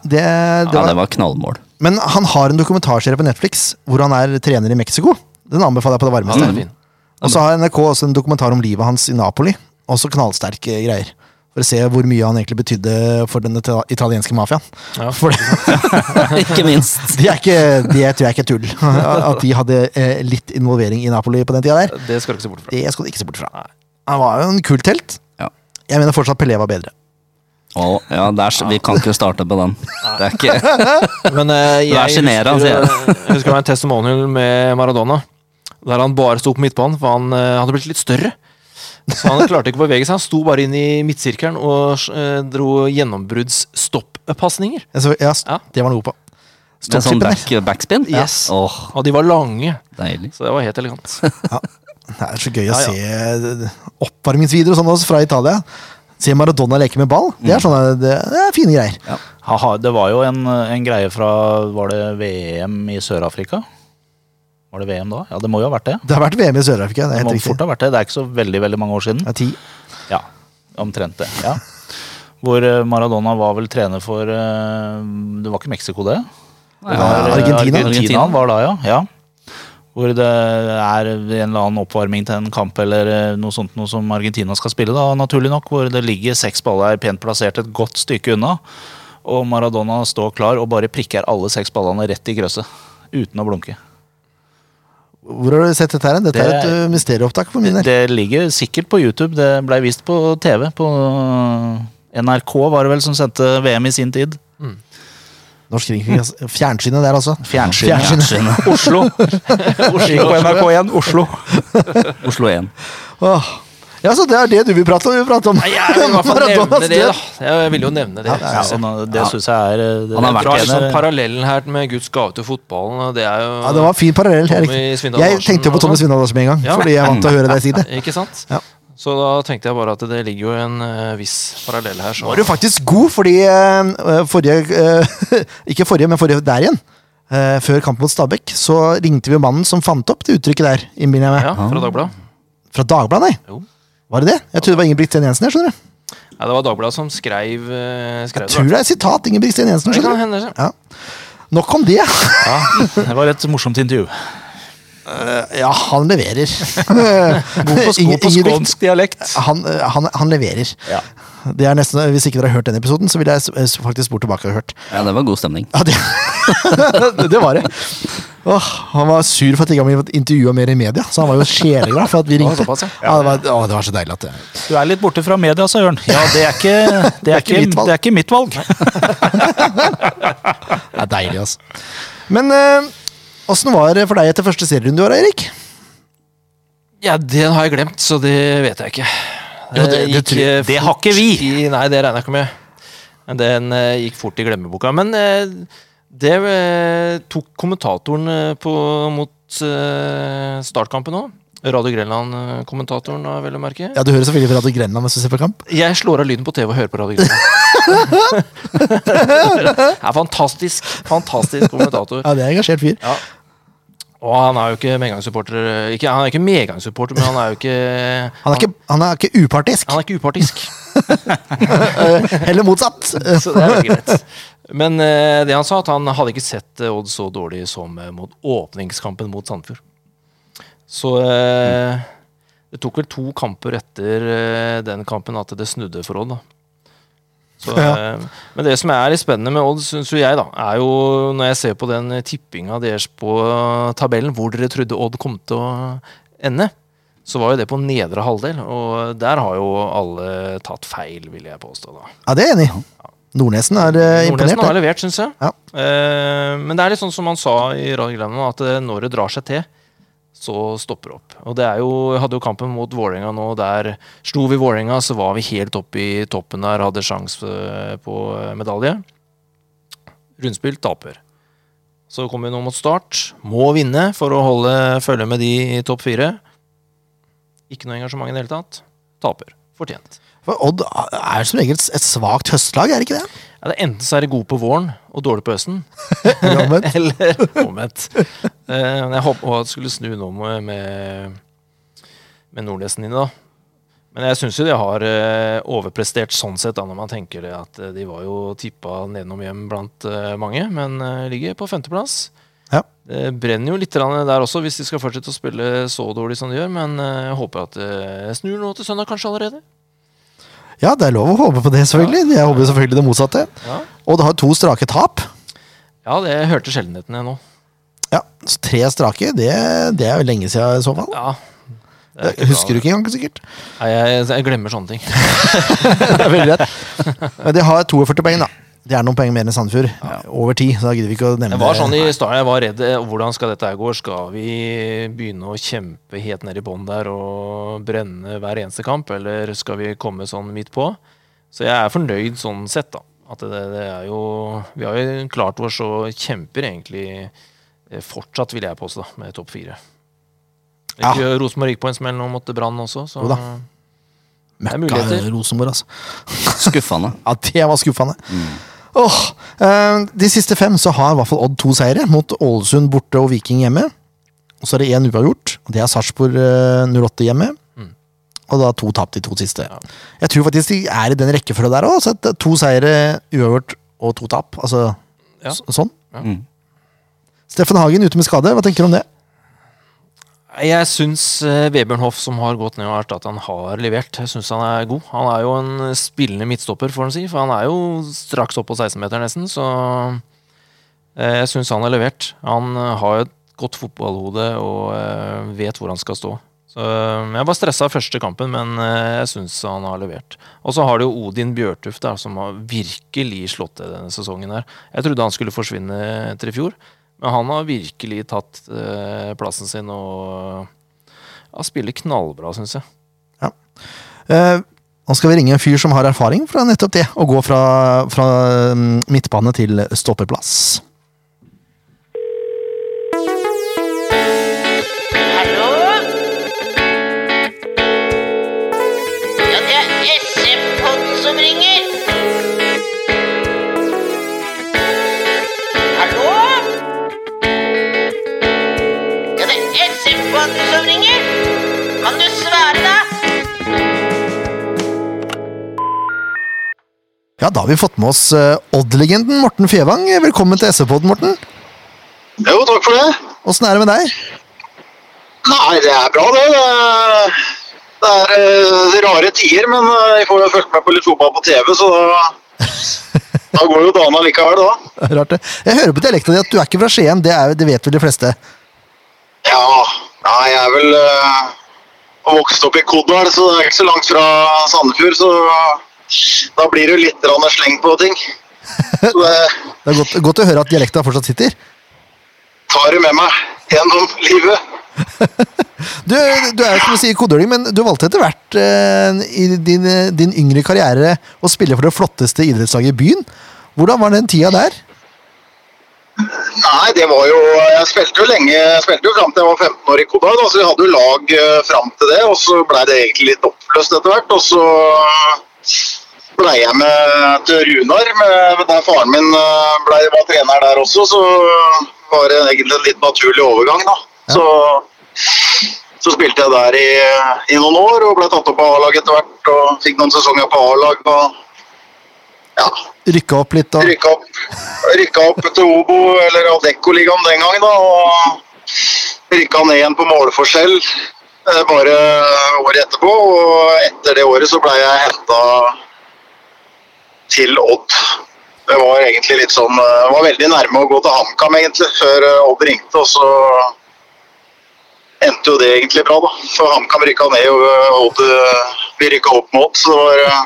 det, det
Ja, det
var.
var knallmål.
Men han har en dokumentarserie på Netflix hvor han er trener i Mexico. Den anbefaler jeg på det
Den er
varmeste.
fin.
Og så har NRK også en dokumentar om livet hans i Napoli. Også knallsterke greier. For å se hvor mye han egentlig betydde for den ita- italienske mafiaen.
Ja.
For det,
Ikke minst.
de, er ikke, de er, tror jeg ikke er tull. At de hadde eh, litt involvering i Napoli på den tida der.
Det skal du ikke se bort fra.
Det skal du ikke se bort fra. Han var jo en kul telt.
Ja.
Jeg mener fortsatt Pelé var bedre.
Å, ja, der, s- vi kan ikke starte på den. Det er ikke
Men eh,
Du er
jeg
sjenerende,
husker, eh,
sier
jeg husker det var en testimonial med Maradona. Der han bare sto på midtbanen, for han eh, hadde blitt litt større. Så han klarte ikke å bevege seg. Han sto bare inn i midtsirkelen og eh, dro gjennombruddsstoppasninger.
Altså, ja, st-
Ja.
Det var han god på.
med sånn
Stoppklippen
back,
der.
backspin.
Yes.
Åh,
Og de var lange,
deilig.
så det var helt elegant.
Det er så gøy å se eh, oppvarmingsvideoer og sånn også fra Italia. Se Maradona leke med ball. Det
Mm.
er, sånne, det det er fine greier.
Haha, det var jo en, en greie fra Var det VM i Sør-Afrika? Var det VM da? Ja, det må jo ha vært det.
Det har vært VM i Sør-Afrika. Det
Det
er
må
helt riktig.
fort ha vært det. Det er ikke så veldig veldig mange år siden.
Det er ti.
Ja, omtrent det. ja. Hvor eh, Maradona var vel trener for eh, Det var ikke Mexico, det?
Nei,
var
Eh,
Argentina.
Argentina han var da, ja. ja. Hvor det er en eller annen oppvarming til en kamp eller eh, noe sånt noe som Argentina skal spille, da, naturlig nok. Hvor det ligger seks baller pent plassert et godt stykke unna. Og Maradona står klar og bare prikker alle seks ballene rett i grøsset. Uten å blunke.
Hvor har du sett dette? her? Dette er et
Det-
eh, mysterieopptak for min del.
Det ligger sikkert på YouTube. Det blei vist på TV. På NRK var det vel som sendte VM i sin tid.
Norsk Kringkast. Fjernsynet der, altså.
Fjernsynet.
Fjernsynet.
Oslo. Oslo på NRK1. Oslo.
Oslo 1.
Åh. Ja, så det er det du vil prate om? Vi vil prate om
Nei, jeg vil i hvert fall
Maradonas
nevne det,
død.
da. Jeg ville jo nevne det.
Ja,
synes jeg.
og det syns jeg er eh, det,
Han har vært
Dra litt sånn
fortjener-
parallellen her med Guds gave til fotballen, og det er jo
Ja, det var en fin parallell. Jeg,
Tommy
riktig.
Svindal
jeg
Larsen
tenkte jo på
og
Tommy
sånn.
Svindal Larsen med en gang,
Ja.
fordi jeg er vant til å høre deg si det.
Ikke sant?
Ja.
Så da tenkte jeg bare at det ligger jo en eh, viss parallell her. Så.
Nå er du faktisk god, fordi eh, forrige eh, Ikke forrige, men forrige der igjen. eh, før kampen mot Stabæk så ringte vi jo mannen som fant opp det uttrykket der. innbiller Jeg meg.
Ja, fra Dagbladet.
Fra Dagbladet, nei?
Jo.
Var det det? Jeg trodde det var Ingebrigtsen Jensen. Jeg skjønner du.
Ja, det var Dagbladet som skreiv, eh, skreiv
Tror det er et sitat. Ingebrigtsen Jensen,
Det kan
skjønner du.
hende. det.
Ja. Nok om det.
Det var et morsomt intervju.
Ja, han leverer.
God på,
Inge-
god på
Ingebrigt-
skånsk dialekt.
han, eh, han, han leverer.
Ja.
Det er nesten, Hvis ikke dere har hørt den episoden, så ville jeg s- s- faktisk spurt tilbake og hørt.
Ja, det var god stemning.
Ja, det, det var det. Åh, han var sur for at ikke han ble intervjua mer i media, så han var jo sjeleglad for at vi ringte.
såpass, ja.
Ja, det, var, å, det var så deilig at det
Du er litt borte fra media, sa Jørn. Ja, det er ikke, det er ikke,
mitt valg.
det er ikke mitt valg.
det er deilig, altså. Men åssen var det for deg etter første serierunde i år, Eirik?
Ja, den har jeg glemt, så det vet jeg ikke.
Jo, det- det
gikk,
tror-
eh,
det
fort
har ikke vi.
I, nei, det regner jeg ikke med. Men Den eh, gikk fort i glemmeboka. Men eh, det eh, tok kommentatoren eh, på, mot eh, startkampen òg. Radio Grenland-kommentatoren, eh, vel å merke.
Ja, Du hører selvfølgelig på Radio Grenland mens du ser på kamp.
Jeg slår av lyden på TV og hører på Radio Grenland. Det er fantastisk, fantastisk kommentator.
Ja, det er en engasjert fyr.
Ja. Og han er jo ikke medgangssupporter eh, ikke, Han er ikke medgangssupporter, men han er jo ikke
Han er ikke, han er ikke upartisk.
han er ikke upartisk.
Heller motsatt. Eh,
Så det er veldig greit. Men eh, det han sa, at han hadde ikke sett eh, Odd så dårlig som eh, mot åpningskampen mot Sandefjord. Så eh, det tok vel to kamper etter eh, den kampen at det snudde for Odd, da. Så,
Ja.
eh, men det som er litt spennende med Odd, syns jo jeg, da, er jo når jeg ser på den tippinga deres på eh, tabellen, hvor dere trodde Odd kom til å ende, så var jo det på nedre halvdel. Og der har jo alle tatt feil, vil jeg påstå, da.
Ja, det er jeg enig i. Nordnesen er eh, imponert.
Nordnesen har
der.
levert, syns jeg.
Ja.
Eh, men det er litt sånn som han sa i Radiogranen, at eh, når det drar seg til, så stopper det opp. Og det er jo, jeg hadde jo kampen mot Vålerenga nå, der slo vi Vålerenga, så var vi helt oppe i toppen der, hadde sjanse eh, på eh, medalje. Rundspill taper. Så kommer vi nå mot start. Må vinne for å holde følge med de i topp fire. Ikke noe engasjement i det hele tatt. Taper. Fortjent.
For Odd er som regel et svakt høstlag, er det ikke det?
Ja, det er enten så er de gode på våren og dårlig på høsten,
Eller omvendt.
eller omvendt. Eh, men jeg håper at det skulle snu nå med, med, med Nordnesen inne, da. Men jeg syns jo de har eh, overprestert sånn sett, da, når man tenker det at eh, de var jo tippa nedenom hjem blant eh, mange, men eh, ligger på femteplass.
Ja.
Det brenner jo litt grann der også, hvis de skal fortsette å spille så dårlig som de gjør. Men eh, jeg håper at det snur nå til søndag, kanskje allerede.
ja, det er lov å håpe på det, selvfølgelig. Jeg håper selvfølgelig det motsatte.
Ja,
Odd har to strake tap.
ja det jeg hørte sjeldenheten jeg nå.
Ja, så Tre strake, det, det er jo lenge siden i så fall.
Ja,
Det husker du ikke engang, sikkert.
Nei, jeg, jeg glemmer sånne ting.
Det er veldig rett. Men de har 42 poeng, da. Det er noen poeng mer enn Sandefjord. Over ti, så da gidder vi ikke å nevne
Det var sånn i starten, jeg var redd. eh, Hvordan skal dette her gå? Skal vi begynne å kjempe helt ned i bånn der og brenne hver eneste kamp, eller skal vi komme sånn midt på? Så jeg er fornøyd sånn sett, da. At det, det er jo Vi har jo klart oss og kjemper egentlig eh, fortsatt, vil jeg påstå, da, med topp fire.
Ja.
Ikke Rosenborg gikk på en smell nå mot Brann også, så
Jo da.
det er muligheter.
Rosenborg, altså.
Skuffende.
Ja, det var skuffende. Åh, eh, de siste fem så har i hvert fall Odd to seire, mot Ålesund borte og Viking hjemme. Og så er det én uavgjort, og det er Sarpsborg eh, 08 hjemme. Og da to tap de to siste. Jeg tror faktisk de er i den rekkefølgen der òg. eh, To seire, uavgjort og to tap. Altså
Ja.
s- sånn.
Mm.
Steffen Hagen ute med skade, hva tenker du om det?
Jeg syns eh, Vebjørn Hoff, som har gått ned og erstattet, han har levert. Jeg syns han er god. Han er jo en spillende midtstopper, får en si, for han er jo straks opp på 16-meter, nesten, så eh, jeg syns han har levert. Han eh, har et godt fotballhode og eh, vet hvor han skal stå. Så eh, jeg var stressa første kampen, men eh, jeg syns han har levert. Og så har du jo Odin Bjørtuft, der, som har virkelig slått til denne sesongen her. Jeg trodde han skulle forsvinne etter i fjor. Men han har virkelig tatt eh, plassen sin og ja, spiller knallbra, syns jeg.
Eh, nå skal vi ringe en fyr som har erfaring fra nettopp det, å gå fra, fra mm, midtbane til stoppeplass.
Hallo? Ja, det er SM-podden som ringer. Hallo? Ja, det er SM-podden som ringer. Kan du svare, da?
Ja, da har vi fått med oss eh, Odd-legenden Morten Fevang. Velkommen til SV-podden, Morten.
Jo, takk for det.
Åssen er det med deg?
Nei, det er bra, det. Det er, det er eh, rare tider, men eh, jeg får jo fulgt med på litt fotball på TV, så da, da går jo dagen allikevel, da.
Rart det. Jeg hører på dialekta di at du er ikke fra Skien, det, er, det vet vel de fleste.
Ja, nei, jeg er vel eh, vokst opp i Kodal, så det er ikke så langt fra Sandefjord, så da blir det jo litt grann sleng på ting. Så det
Det er godt, godt å høre at dialekta fortsatt sitter.
tar jeg med meg gjennom livet.
Du, du er jo som du sier kodøling, men du valgte etter hvert eh, i din, eh, din yngre karriere å spille for det flotteste idrettslaget i byen. Hvordan var den tida der?
Nei, det var jo Jeg spilte jo lenge jeg spilte jo fram til jeg var 15 år i Kodal, da, så vi hadde jo lag eh, fram til det. Og så blei det egentlig litt oppløst etter hvert. Og så blei jeg med til Runar, med, der faren min eh, ble, var trener der også. Så var det egentlig en litt naturlig overgang, da. Så, så spilte jeg der i, i noen år og ble tatt opp av A-lag etter hvert. Og fikk noen sesonger på A-lag. og ja,
Rykka opp litt og
Rykka opp, rykka opp til Obo, eller Adecco-ligaen den gang, da, og rykka ned igjen på målforskjell eh, bare året etterpå. Og etter det året så blei jeg henta til Odd. Det var egentlig litt sånn eh, Var veldig nærme å gå til HamKam, egentlig, før eh, Odd ringte, og så endte jo det egentlig bra, da. For HamKam rykka ned, og eh, Odd eh, vi rykka opp mot, så det var eh,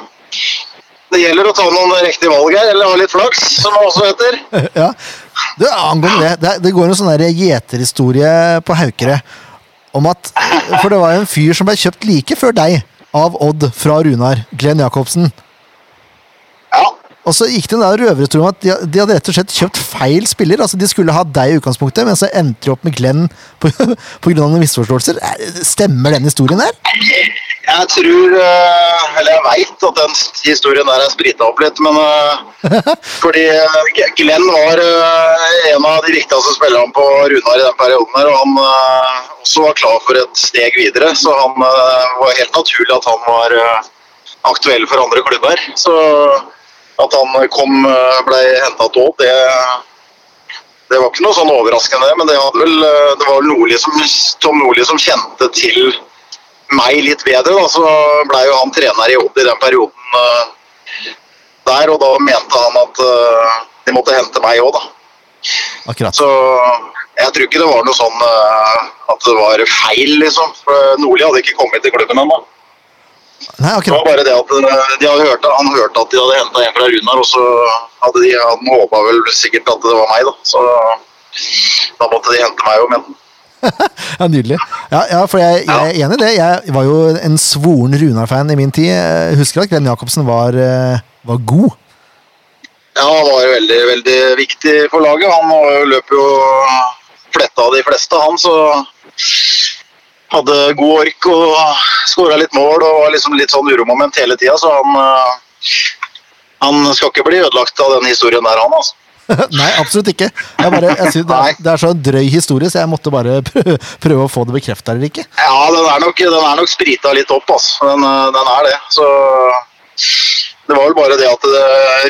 det gjelder å ta noen riktige valg her, eller ha litt flaks, som det også heter.
Ja. Du, angående det, det, det går en sånn der gjeterhistorie på Haukere om at For det var jo en fyr som ble kjøpt like før deg av Odd fra Runar, Glenn Jacobsen.
Ja,
Og så gikk det en røverhistorie om at de, de hadde rett og slett kjøpt feil spiller. altså De skulle ha deg i utgangspunktet, men så endte de opp med Glenn pga. noen misforståelser. Eh, Stemmer den historien der?
ja jeg tror eh, Eller jeg veit at den historien der er sprita opp litt, men eh, Fordi eh, Glenn var eh, en av de viktigste spillerne på Runar i den perioden her, og han eh, også var klar for et steg videre, så han eh, var helt naturlig at han var eh, aktuell for andre klubber. Så at han kom, eh, ble henta til Odd, det det var ikke noe sånn overraskende, men det, hadde vel, eh, det var vel Nordli som, Tom Nordli som kjente til meg litt bedre. Da. Så ble jo han trener i Odd i den perioden eh, der, og da mente han at eh, de måtte hente meg òg, da.
Akkurat.
Så jeg tror ikke det var noe sånn eh, at det var feil, liksom. For Nordli hadde ikke kommet til klubben ennå.
Nei,
Det var
akkurat.
bare det at eh, de hadde hørt, han hørte at de hadde henta en fra Runar, og så hadde de, han håpa vel sikkert at det var meg, da. Så da måtte de hente meg òg, men
Ja, nydelig. Ja, ja for jeg, jeg er enig i det. Jeg var jo en svoren Runar-fan i min tid. Jeg husker at Glenn Jacobsen var, eh, var god.
ja, han var jo veldig, veldig viktig for laget. Han var jo- løp jo fletta av de fleste, han, så hadde god ork og skåra litt mål og var liksom litt sånn uromoment hele tida, så han eh, han skal ikke bli ødelagt av den historien der, han. altså.
Nei, absolutt ikke. Jeg bare, jeg synes det, er, det er så drøy historie, så jeg måtte bare prøve, prøve å få det bekrefta eller ikke.
Ja, den er nok, den er nok sprita litt opp, altså. Den, eh, den er det. Så det var vel bare det at det,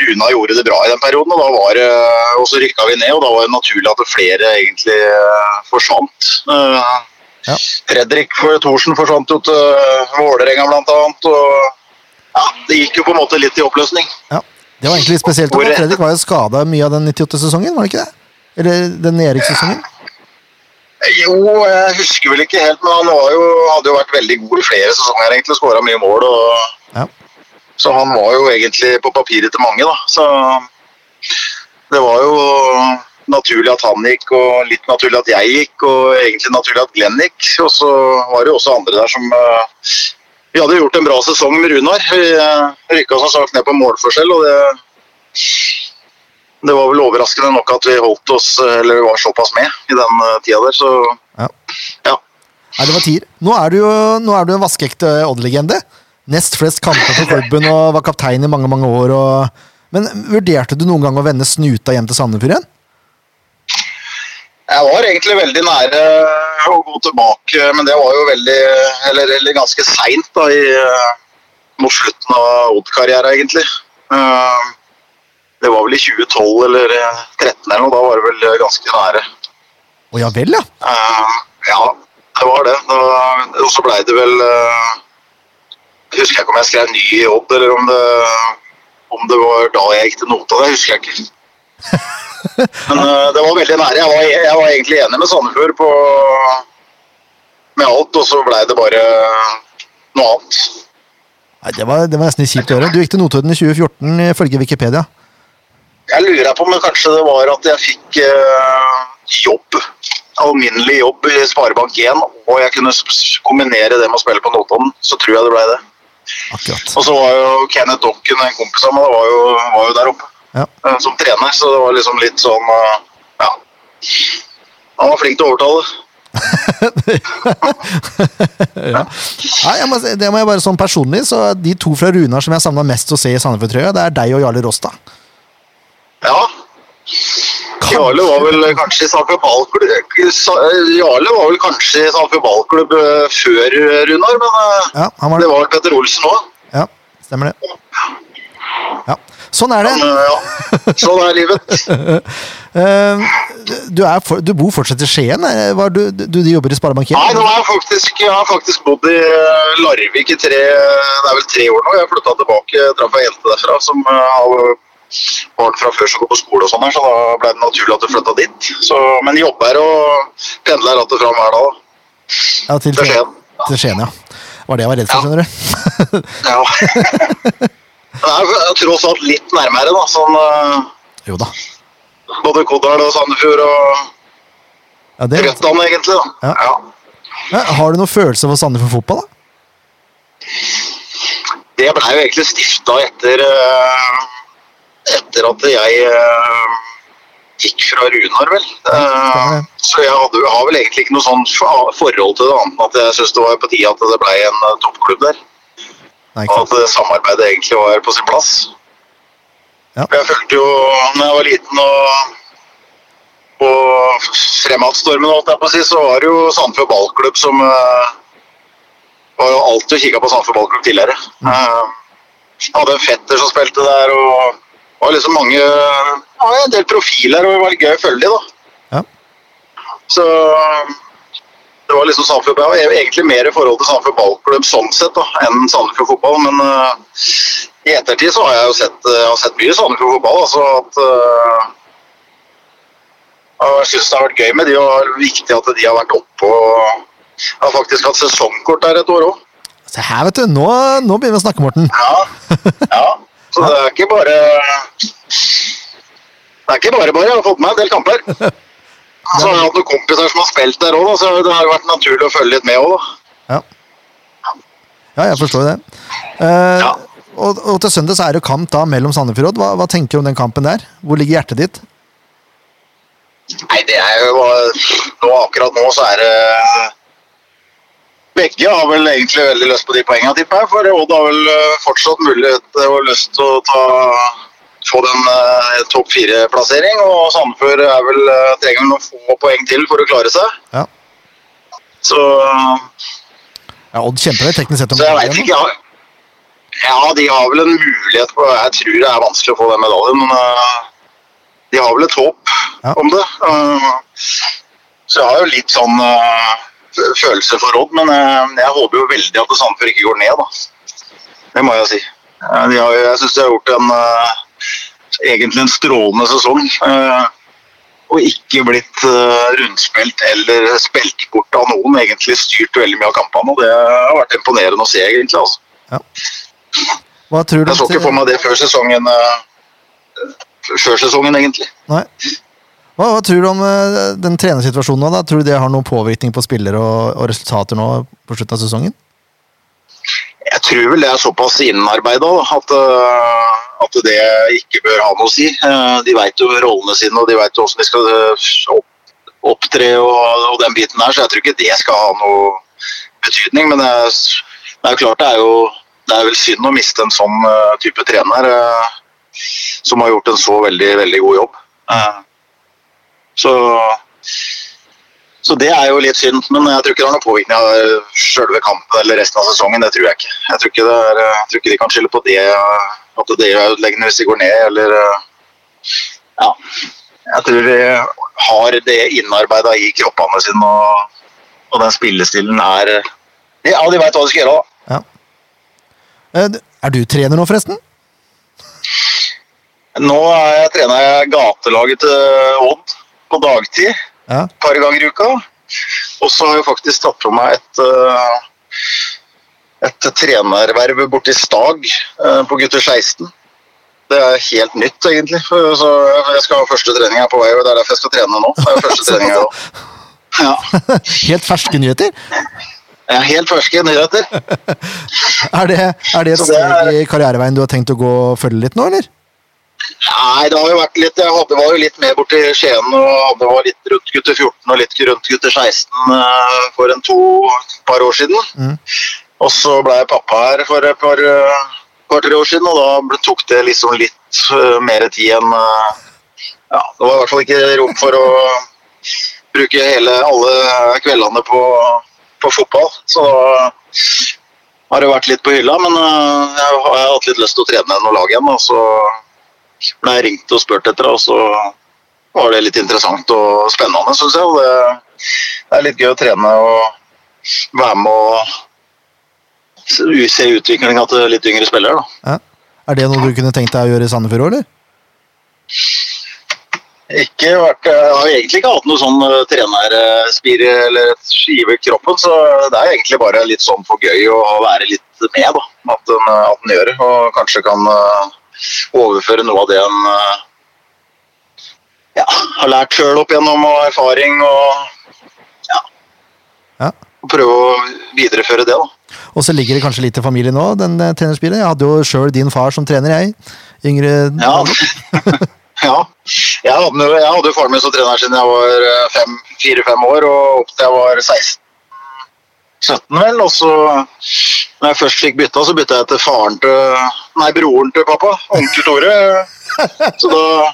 Runa gjorde det bra i den perioden, og, da var, det- eh, og så rykka vi ned. Og da var det naturlig at flere egentlig eh, forsvant. Eh,
Ja.
Fredrik for- Thorsen forsvant jo til Vålerenga bl.a. Og ja, det gikk jo på en måte litt i oppløsning.
Ja, Det var egentlig spesielt.
Hvor-
at Fredrik var jo skada mye av den 98-sesongen, var det ikke det? Eller den Erik-sesongen?
Jo, jeg husker vel ikke helt, men han var jo, hadde jo vært veldig god i flere sesonger egentlig, og skåra mye mål. og...
Ja.
Så han var jo egentlig på papiret til mange, da. Så det var jo naturlig at han gikk, og litt naturlig at jeg gikk, og egentlig naturlig at Glenn gikk. Og så var det jo også andre der som eh, Vi hadde gjort en bra sesong med Runar. Vi eh, rykka som sagt ned på målforskjell, og det det var vel overraskende nok at vi holdt oss, eh, eller var såpass med i den eh, tida der, så
Ja.
ja.
Nei, det var tier. Nå er du jo nå er du en vaskeekte Odd-legende. Nest flest kamper for klubben og var kaptein i mange mange år. Og... Men vurderte du noen gang å vende snuta hjem til Sandefjord igjen?
Jeg var egentlig veldig nære eh, å gå tilbake, men det var jo veldig Eller, eller ganske seint, da, i, eh, mot slutten av Odd-karrieren, egentlig. Eh, Det var vel i 2012 eller eh, 2013 eller noe, da var det vel eh, ganske nære.
Å ja vel, ja.
Eh, ja, det var det. Da, og så blei det vel eh, Jeg husker ikke om jeg skrev ny i Odd, eller om det, om det var da jeg gikk til nota. Det husker jeg ikke. Men eh, det var veldig nære. Jeg var, jeg var egentlig enig med Sandefjord på med alt, og så blei det bare eh, noe annet.
Nei, det, var, det var nesten litt kjipt å høre. Du gikk til Notodden i 2014, ifølge Wikipedia.
Jeg lurer på om det kanskje det var at jeg fikk eh, jobb. Alminnelig jobb i Sparebank1, og jeg kunne s- kombinere det med å spille på Notodden. Så tror jeg det blei det.
Akkurat.
Og så var jo Kenneth Dokken, en kompis av meg, da var jo, var jo der oppe
Ja.
eh, som trener. Så det var liksom litt sånn eh, Ja. Han var flink til å overtale.
Nei, jeg må, si- det må jeg bare sånn personlig, så De to fra Runar som jeg savna mest å se i Sandefjord-trøya, det er deg og Jarle Rosta.
Ja. Jarle var vel kanskje i Sandefjord ballklubb eh, Sa- Jarle var vel kanskje i Sandefjord ballklubb eh, før eh, Runar, men eh,
Ja, han var
det var vel Petter Olsen òg.
Ja, stemmer det. Ja, Sånn er det.
Ja. Sånn er livet.
Eh, du, er for, du bor fortsatt i Skien? eh, Var du, du, du jobber i Sparebank
Nei, nå
Hedmark?
har jeg faktisk, jeg har faktisk bodd i eh, Larvik i tre, det er vel tre år nå. Jeg flytta tilbake, jeg traff ei jente derfra som eh, har barn fra før som går på skole og sånn her, så da ble det naturlig at jeg flytta dit. Så, men jobber og pendler att og fram hver dag. da.
Ja, til,
Til
Skien.
Skien.
til Skien, ja. Var det jeg var redd for, skjønner du.
Ja. Det er jo tross alt litt nærmere, da. Sånn, eh,
jo da.
både Kodal og Sandefjord og
Ja, det,
Rødtland, egentlig. da.
Ja.
Ja.
Ja, har du noen følelse for Sandefjord fotball, da?
Det blei jo egentlig stifta etter eh, Etter at jeg eh, gikk fra Runar, vel. Eh, Så jeg hadde, har vel egentlig ikke noe sånn fa- forhold til det, annet enn at jeg syns det var på tide at det blei en eh, toppklubb der.
Nei,
Og
ikke sant.
at det samarbeidet egentlig var på sin plass.
Ja.
For Jeg følte jo da jeg var liten og på fremadstormen, holdt jeg på å si, så var det jo Sandefjord ballklubb som eh, var jo alltid og kikka på Sandefjord ballklubb tidligere.
Mm.
Eh, hadde en fetter som spilte der, og det var liksom mange det var En del profiler, og det var litt gøy å følge de, da.
Ja.
Så det var liksom Sandefjord Jeg var egentlig mer i forhold til Sandefjord ballklubb sånn sett da, enn Sandefjord fotball, men eh, i ettertid så har jeg jo sett, eh, har sett mye Sandefjord fotball. altså at eh, og jeg syns det har vært gøy med de, og det er viktig at de har vært oppe og Jeg har faktisk hatt sesongkort der et år òg.
Se her, vet du. Nå, nå begynner vi å snakke, Morten.
Ja. ja. Så det er ikke bare Det er ikke bare bare. Jeg har fått med meg en del kamper. Så har jeg hatt noen kompiser som har spilt der òg, så det har jo vært naturlig å følge litt med òg, da.
Ja. ja, jeg forstår det. Eh,
Ja.
og, og til søndag så er det jo kamp da mellom Sandefjord og Odd. Hva, hva tenker du om den kampen der? Hvor ligger hjertet ditt?
Nei, det er jo nå, Akkurat nå så er det eh, Begge har vel egentlig veldig lyst på de poengene, tipper jeg. For Odd har vel eh, fortsatt mulighet eh, og lyst til å ta, få den eh, topp fire-plassering. Og Sandefjord er vel, eh, trenger vel noen få poeng til for å klare seg.
Ja.
Så,
Ja, Odd kjemper vel teknisk sett om
så jeg veit
medaljen,
ikke. jeg- Ja, de har vel en mulighet på Jeg tror det er vanskelig å få den medaljen, men eh, de har vel et håp
Ja.
om det. Eh, så jeg har jo litt sånn eh, fø- følelse for Odd, men eh, jeg håper jo veldig at Sandefjord ikke går ned, da. Det må jeg si. Eh, de har, jo- jeg syns de har gjort en eh, egentlig en strålende sesong. eh, og ikke blitt eh, rundspilt eller spilt bort av noen. Egentlig styrt veldig mye av kampene, og det har vært imponerende å se, egentlig. altså.
Hva tror du?
Jeg så ikke for meg det før sesongen, eh, f- før sesongen egentlig.
Nei. Hva, hva tror du om eh, den trenersituasjonen nå? da? Tror du det har noen påvirkning på spillere og, og resultater nå på slutten av sesongen?
Jeg tror vel det er såpass innarbeida at, øh, at det ikke bør ha noe å si. Eh, De veit jo rollene sine og de veit åssen de skal øh, opp, opptre og, og den biten der, så jeg tror ikke det skal ha noe betydning. Men det er, s- det er jo klart det er jo det er vel synd å miste en sånn øh, type trener øh, som har gjort en så veldig, veldig god jobb. Eh, Så så det er jo litt synd, men jeg tror ikke det har noen påvirkning av selve kampen eller resten av sesongen. Det tror jeg ikke. Jeg tror ikke, det er, eh, jeg tror ikke de kan skylde på det, eh, at det er ødeleggende hvis de går ned, eller eh, Ja. Jeg tror de har det innarbeida i kroppene sine, og, og den spillestilen er eh, Ja, de veit hva de skal gjøre, da.
Eh, d- Er du trener nå, forresten?
Nå er jeg, trener jeg gatelaget til Odd på dagtid.
Ja.
et par ganger i uka. Og så har jeg faktisk tatt på meg et, eh, et trenerverv borti Stag eh, på gutter 16. Det er helt nytt, egentlig. For- Så jeg skal ha første trening her på vei, og det er derfor jeg skal trene nå. Det er jo første trening her nå. Ja,
Helt ferske nyheter?
jeg er helt ferske nyheter.
Er det, er det et
Så det er-
steg i karriereveien du har tenkt å gå og følge litt nå, eller?
Nei, det har jo vært litt Jeg hadde var jo litt med borti Skien og hadde var litt rundt gutter 14 og litt rundt gutter 16 eh, for en to par år siden.
Mhm.
Og så ble jeg pappa her for et par, eh, par-tre år siden, og da ble- tok det liksom litt eh, mer tid enn eh, Ja, det var i hvert fall ikke rom for å bruke hele, alle kveldene på, på fotball. Så da har det vært litt på hylla, men eh, jeg har jeg har hatt litt lyst til å trene noe lag igjen. da, så ble jeg ringt og spurt etter, og så var det litt interessant og spennende, syns jeg. Og det det er litt gøy å trene og være med og se- se utviklinga til litt yngre spillere. da.
Ja. Er det noe du kunne tenkt deg å gjøre i Sandefjord, eller?
Ikke vært, jeg har egentlig ikke hatt noe sånn eh, trenerspire eller et skive i kroppen, så det er egentlig bare litt sånn for gøy å være litt med, da. At en, eh, at en gjør det, og kanskje kan eh, overføre noe av det en eh, ja, har lært sjøl opp gjennom og erfaring, og ja.
Ja.
Og prøve å videreføre det, da.
Og så ligger det kanskje litt til familien nå, den eh, trenerspillet. Jeg hadde jo sjøl din far som trener, jeg. Yngre
Ja. ja. Jeg hadde, jo- jeg hadde jo faren min som trener siden jeg var eh, fem- fire-fem år, og opp til jeg var 16-17, vel. Og så Når jeg først fikk bytta, så bytta jeg til faren til Nei, broren til pappa. Onkel Tore. Så da,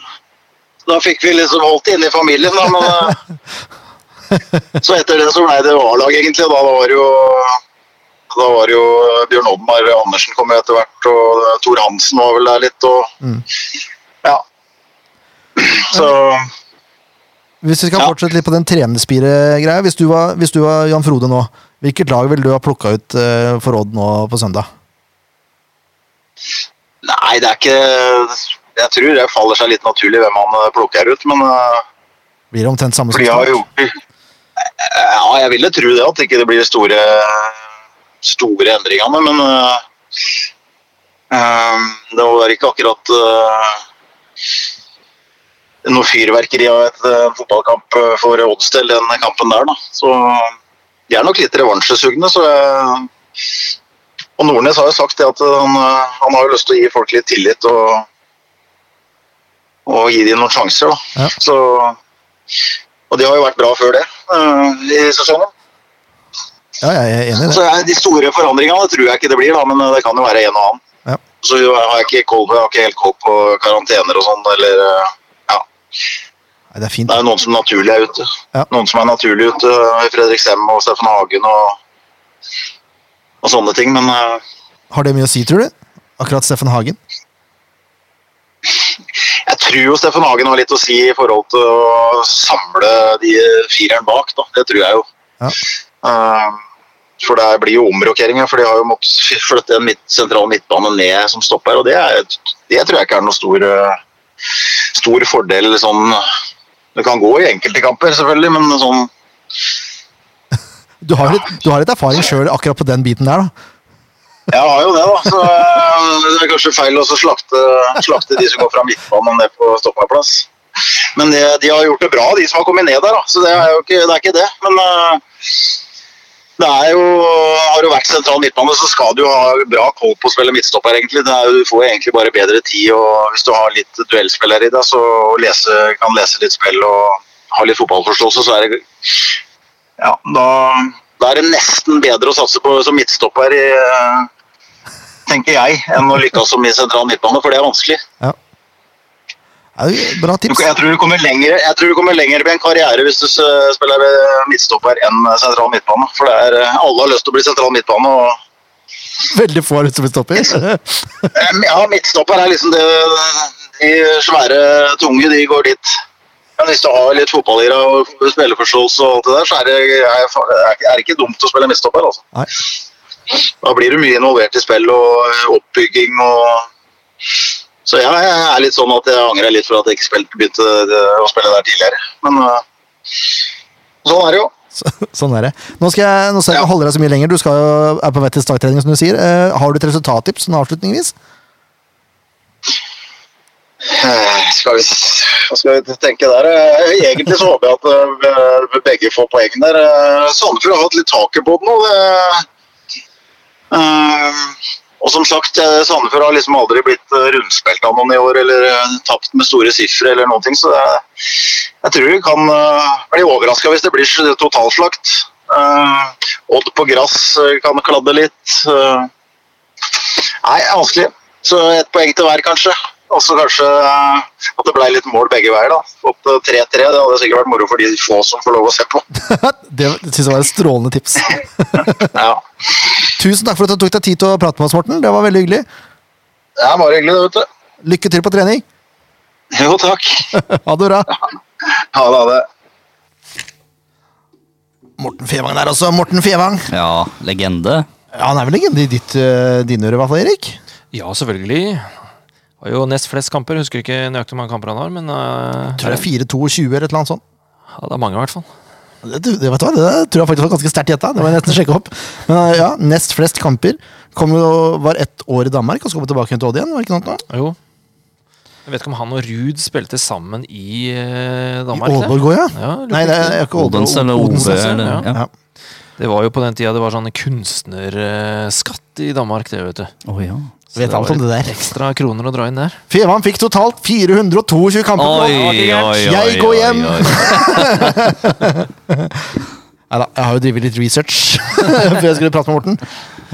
da fikk vi liksom holdt det inne i familien, da. Men eh, så etter det så blei det A-lag, egentlig. Da var det jo da var det jo Bjørn Oddmar Andersen kom jo etter hvert, og Tor Hansen var vel der litt, og Ja. Så
Hvis vi skal
Ja.
fortsette litt på den trenerspire-greia. Hvis, du var- hvis du var Jan Frode nå, hvilket lag ville du ha plukka ut eh, for Odd nå på søndag?
Nei, det er ikke Jeg tror det faller seg litt naturlig hvem han eh, plukker ut, men eh,
Blir det omtrent samme som
for de har
Start?
jo Ja, jeg ville tro det, at ikke det blir store store endringene, men eh, eh, det var ikke akkurat eh, noe fyrverkeri av et eh, fotballkamp eh, for Odds del, den kampen der, da. Så de er nok litt revansjesugne, så jeg og Nordnes har jo sagt det at han, eh, han har jo lyst til å gi folk litt tillit og, og gi dem noen sjanser. Da.
Ja.
Så, og de har jo vært bra før det eh, i sesongen.
Ja, jeg er enig i det.
Så jeg- de store forandringene tror jeg ikke det blir, da, men eh, det kan jo være en og annen.
Ja.
Så har jeg ikke, koll på, jeg har ikke helt koll på karantener og sånn. eller eh, ja.
Nei, det er fint.
Det er jo noen som naturlig er ute.
Ja.
Noen som er naturlig ute. eh, Fredrik Sem og Steffen Hagen og, og sånne ting. Men eh,
Har det mye å si, tror du? Akkurat Steffen Hagen?
Jeg tror jo Steffen Hagen har litt å si i forhold til å samle de fireren bak. Da. Det tror jeg jo.
Ja.
Eh, for det blir jo omrokeringer, for de har jo måttet flytte en midt, sentral midtbane ned som stopper. Og det, er, det tror jeg ikke er noe stor, eh, stor fordel sånn Det kan gå i enkelte kamper, selvfølgelig, men sånn
Du har litt, du har litt erfaring sjøl akkurat på den biten der, da.
Jeg har jo det, da. Så eh, det er kanskje feil å så slakte, slakte de som går fra midtbanen ned på stoppeplass. Men de, de har gjort det bra, de som har kommet ned der. da, Så det er jo ikke det. Er ikke det. Men eh, det er jo Har du vært sentral midtbane, så skal du ha bra koll på å spille midtstopper, egentlig. Det er, jo- du får egentlig bare bedre tid, og hvis du har litt duellspiller i deg, så og lese, kan lese litt spill og har litt fotballforståelse, så er det Ja, da da er det nesten bedre å satse på som midtstopper, eh, tenker jeg, enn å lykkes som i sentral midtbane, for det er vanskelig.
Det er jo bra
Du-
tips.
Jeg tror du kommer lenger, jeg tror du kommer lenger med en karriere hvis du s- spiller eh, midtstopper enn eh, sentral midtbane. For det er, eh, alle har lyst til å bli sentral midtbane. og
Veldig få har lyst til å bli stopper.
Eh, Ja, midtstopper er liksom det De svære, tunge, de går dit. Men hvis du har litt fotball i deg og spillerforståelse og alt det der, så er det, er, er det ikke dumt å spille midtstopper, altså.
Nei.
Da blir du mye involvert i spill og eh, oppbygging og Så ja, jeg er litt sånn at jeg angrer litt for at jeg ikke spilte, begynte eh, å spille der tidligere. Men eh, sånn er det jo.
Så, sånn er det. Nå skal jeg, nå skal jeg ikke holde deg så mye lenger. Du skal jo, er på vei til starttrening, som du sier. Eh, har du et resultattips sånn avslutningsvis?
Eh, Skal vi, s- hva skal vi tenke der? Eh, Egentlig så håper jeg at eh, begge får poeng der. Eh, Sandefjord har hatt litt taket på den. Og, det, eh, og som sagt, eh, Sandefjord har liksom aldri blitt eh, rundspilt av noen i år eller eh, tapt med store sifre eller noen ting, så det, jeg tror vi kan eh, bli overraska hvis det blir s- totalslakt. Eh, Odd på gress eh, kan kladde litt. eh. Nei, vanskelig. Så ett poeng til hver, kanskje. Og så kanskje eh, at det ble litt mål begge veier. da. Fått eh, 3-3. Det hadde sikkert vært moro for de få som får lov å se på.
det syns jeg var et strålende tips.
Ja,
Tusen takk for at du tok deg tid til å prate med oss, Morten. Det var veldig hyggelig.
Det er bare hyggelig, det, vet du.
Lykke til på trening.
Jo, takk.
Ha det bra.
Ha det. ha det.
Morten Fevang der også. Morten Fevang.
Ja, legende.
Ja, Han er vel legende i ditt, eh, dine ører, i hvert fall, Erik.
Ja, selvfølgelig. Har jo nest flest kamper. Husker ikke nøyaktig hvor mange kamper han har, men eh,
Tror det er 4-22 eller et eller annet sånt.
ja, det er mange, i hvert fall.
Det, det, vet du hva, det der tror jeg faktisk var ganske sterkt gjetta. Det må jeg nesten sjekke opp. Men eh, ja, nest flest kamper. Kom jo, var ett år i Danmark og så kom han tilbake til Odd igjen. var det ikke sant nå?
Jo. Jeg vet ikke om han og Ruud spilte sammen i eh,
I
Danmark. det?
Aalborg òg, ja.
Ja, lurer
Nei, det er er ikke Aalborg.
Odense eller Ove.
Odense.
Eller,
ja.
ja.
Ja.
Det var jo på den tida det var sånn kunstnerskatt i Danmark, det, vet du.
Å, ja.
Så
Vet
det
alt
var
om det der.
Ekstra kroner å dra inn der.
Fevang fikk totalt 422 kamper.
Oi,
nå.
oi, oi,
Jeg går hjem.
oi, oi.
Neida, jeg har jo drevet litt research før jeg skulle prate med Morten.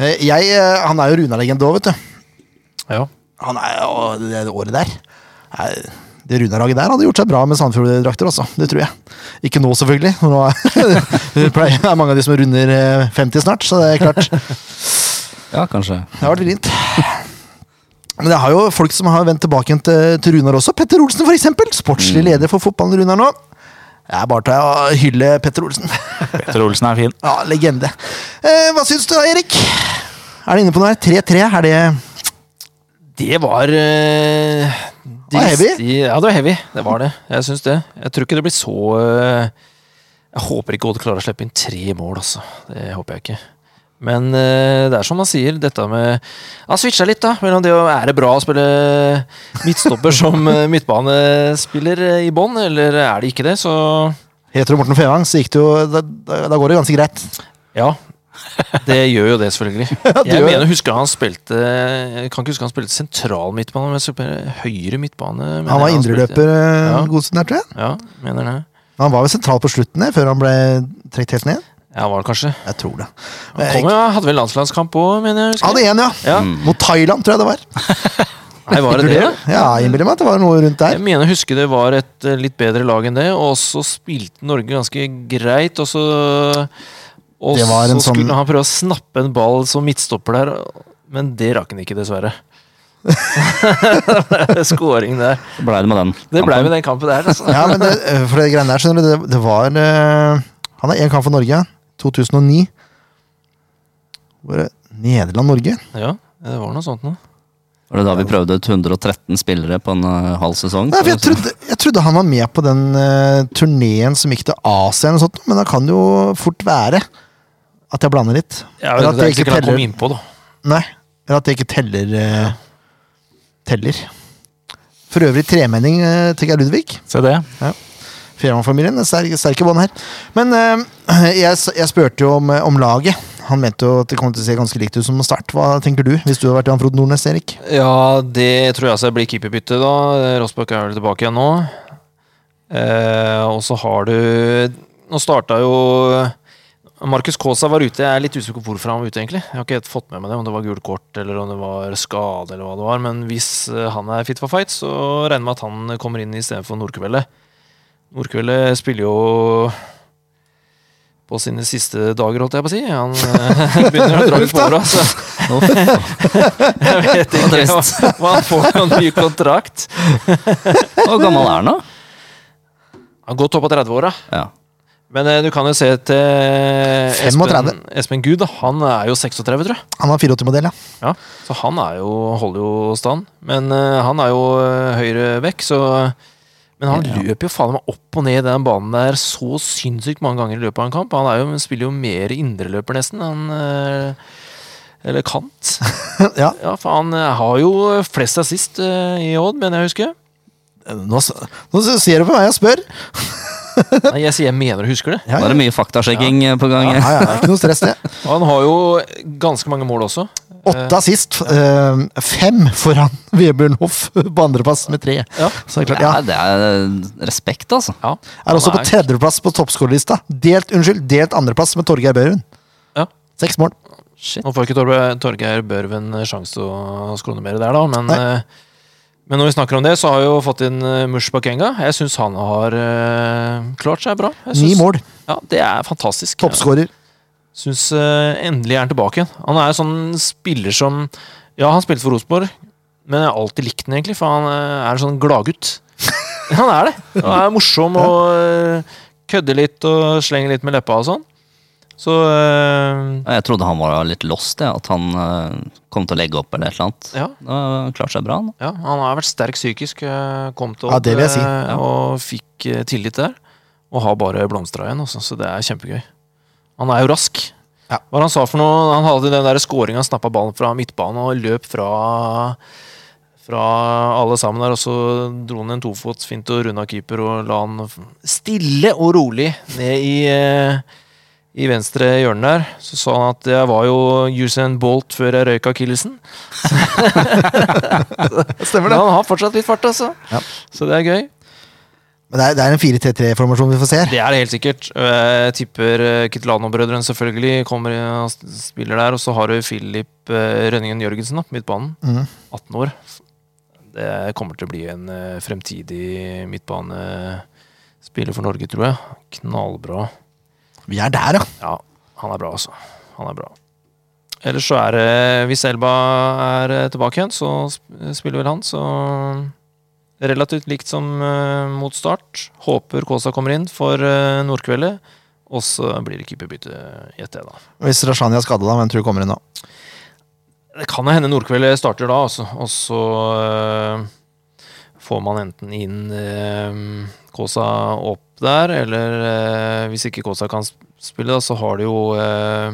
Eh, Jeg, eh, han er jo Runar-legende òg, vet du.
Ja.
Han er jo det det året der. Nei, Det Runar-laget der hadde gjort seg bra med Sandefjord-drakter, altså. Det tror jeg. Ikke nå, selvfølgelig. for Nå er, det pleier- er mange av de som runder eh, 50 snart, så det er klart.
Ja, kanskje.
Det har vært vrient. Men det har jo folk som har vendt tilbake igjen til, til Runar også. Petter Olsen, for eksempel. Sportslig
Mm.
leder for fotballen Runar nå. Det er bare til å hylle Petter Olsen.
Petter Olsen er fin.
Ja, legende. Eh, hva syns du da, Erik? Er det inne på noe her? 3-3, er det
Det var eh,
Det var heavy.
de- Ja, det var heavy. Det var det. Jeg syns det. Jeg tror ikke det blir så eh, Jeg håper ikke Odd klarer å slippe inn tre mål, altså. Det håper jeg ikke. Men eh, det er som han sier, dette med Han switcha litt, da. Mellom det å er det bra å spille midtstopper som eh, midtbanespiller eh, i bånn, eller er det ikke det? Så
Heter du Morten Fevang, så gikk det jo da, da, da går det ganske greit.
ja. Det gjør jo det, selvfølgelig.
det
Jeg
gjør
mener, husker han spilte Jeg kan ikke huske han spilte sentral midtbane, men jeg spilte høyre midtbane. mener
Han var
jeg spilte.
indreløper eh,
Ja.
en god stund der, tror jeg.
Ja, mener det.
Han var vel sentral på slutten der, før han ble trukket helt ned.
Ja, var det kanskje.
Jeg tror det.
Han kom, ja, hadde vel landslandskamp òg, mener jeg. husker.
Hadde én, ja.
Ja.
Mot Thailand, tror jeg det var.
Nei, var det det, da?
Ja, jeg innbiller meg at det var noe rundt
Jeg
der.
mener å huske det var et eh, litt bedre lag enn det, og så spilte Norge ganske greit, og så Og
Det
så
var en sånn-
skulle han prøve å snappe en ball som midtstopper der, men det rakk han ikke, dessverre. Skåring der.
Blei det med den.
Det blei
kampen.
med den kampen der. Altså.
Ja, men det, eh, for det greiene der, skjønner du, det, det var eh, Han har én kamp for Norge. 2009. Hvor er det? Nederland-Norge?
Ja, det var noe sånt noe.
Var det da vi prøvde ut 113 spillere på en eh, halv sesong?
Nei, for jeg trodde, jeg trodde han var med på den uh, turneen som gikk til Asia, eller noe sånt, men det kan jo fort være at jeg blander litt.
Ja,
Eller
det
at
er
jeg ikke
ikke sikkert han kom
teller.
innpå, da.
Nei, eller at det ikke teller. eh, teller. For øvrig tremenning eh, til Geir Ludvig.
Se det.
Firmafamilien. Sterke, sterke bånd her. Men eh, jeg, s- jeg spurte jo om, eh, om laget. Han mente jo at det kom til å se ganske likt ut som start. Hva tenker du, hvis du hadde vært Jan Frode Nordnes, Erik?
Ja, det tror jeg altså blir keeperbytte, da. Rossbakk er vel tilbake igjen nå. Eh, og så har du Nå starta jo Markus Kaasa var ute. Jeg er litt usikker på hvorfor han var ute, egentlig. Jeg har ikke helt fått med meg det, om det var gult kort eller om det var skade eller hva det var. Men hvis eh, han er fit for fight, så regner jeg med at han kommer inn istedenfor Nordkveldet. Nordkveldet spiller jo på sine siste dager, holdt jeg på å si. Han eh, begynner å dra litt på åra, så jeg vet ikke hva,
trist.
hva han får for en ny kontrakt.
Hvor gammel er han, da?
Han har gått opp på 30-åra.
Ja.
Men eh, du kan jo se til Espen,
35.
Espen Gud. da. Han er jo 36, tror jeg.
Han var 84-modell, ja.
Ja, så han er jo, holder jo stand. Men eh, han er jo eh, høyre vekk, så Men han løper jo faen meg opp og ned den banen der så sinnssykt mange ganger i løpet av en kamp. Han er jo, spiller jo mer indreløper, nesten. Han, eh, eller kant.
ja.
Ja, for han eh, har jo flest assist eh, i Odd, mener jeg å huske.
Nå, s- nå s- ser du på meg og spør.
Nei, jeg sier jeg mener og husker det.
Ja,
Da er det mye faktasjekking eh, på gang.
Ja, ja, det er ikke noe stress, det.
Og han har jo ganske mange mål også.
Åtte assist. eh, fem foran Vebjørn Hoff på andreplass med tre.
Ja.
Så det er klart,
Ja,
ja.
det er respekt, altså.
Ja,
Er også
han
på tredjeplass på toppskårerlista. Delt unnskyld, delt andreplass med Torgeir Børund.
Ja.
Seks mål.
Nå får ikke Torbe- Torgeir Børven sjanse til å skåre noe mer der, da, men,
Nei.
eh, men når vi snakker om det, så har jeg jo fått inn eh, Mush Bakenga. Jeg syns han har eh, klart seg bra. Jeg
Ni
synes-
mål.
Ja, Det er fantastisk.
Toppskårer.
Syns eh, endelig er han tilbake igjen. Han er jo sånn spiller som Ja, han spilte for Rosenborg, men jeg har alltid likt han egentlig, for han eh, er en sånn gladgutt. han er det. Han er morsom og eh, kødder litt og slenger litt med leppa og sånn. Så eh,
Ja, Jeg trodde han var litt lost, jeg, at han eh, kom til å legge opp eller et eller annet.
eh, ja.
Da har han klart seg bra, han.
Ja, han har vært sterk psykisk. eh, Kom til
Ja, det vil jeg si.
eh, Og fikk eh, tillit der. Og har bare blomstra igjen, altså, så det er kjempegøy. Han er jo rask.
Ja.
Hva var det han sa for noe? Han hadde den der scoringa, snappa ballen fra midtbanen og løp fra fra alle sammen der, og så dro han en tofotsfint og runda keeper og la han f- stille og rolig ned i, eh, i venstre hjørne der. Så sa han at jeg var jo Usain Bolt før jeg røyk akillesen.
Stemmer
Men han har fortsatt litt fart, altså.
Ja.
Så det er gøy.
Men det er, det er en 4-3-3-formasjon vi får se her.
Det er det helt sikkert. Og Jeg tipper eh, Kitlano-brødrene selvfølgelig kommer eh, og spiller der. Og så har du Filip eh, Rønningen Jørgensen, da, midtbanen. 18 år. Det kommer til å bli en eh, fremtidig midtbanespiller for Norge, tror jeg. Knallbra.
Vi er der, ja.
Ja, han er bra, altså. Han er bra. Ellers så er det Hvis Elba er eh, tilbake igjen, så sp- spiller vel han, så Relativt likt som eh, mot start. Håper Kaasa kommer inn for uh, Nordkveldet. Og så blir det keeperbytte, gjetter jeg da.
Hvis Rashani er skada, da, hvem tror du kommer inn nå?
Det kan jo hende Nordkveldet starter da, altså. Og så eh, får man enten inn eh, Kåsa opp der, eller eh, hvis ikke Kåsa kan sp- spille, da, så har du jo eh,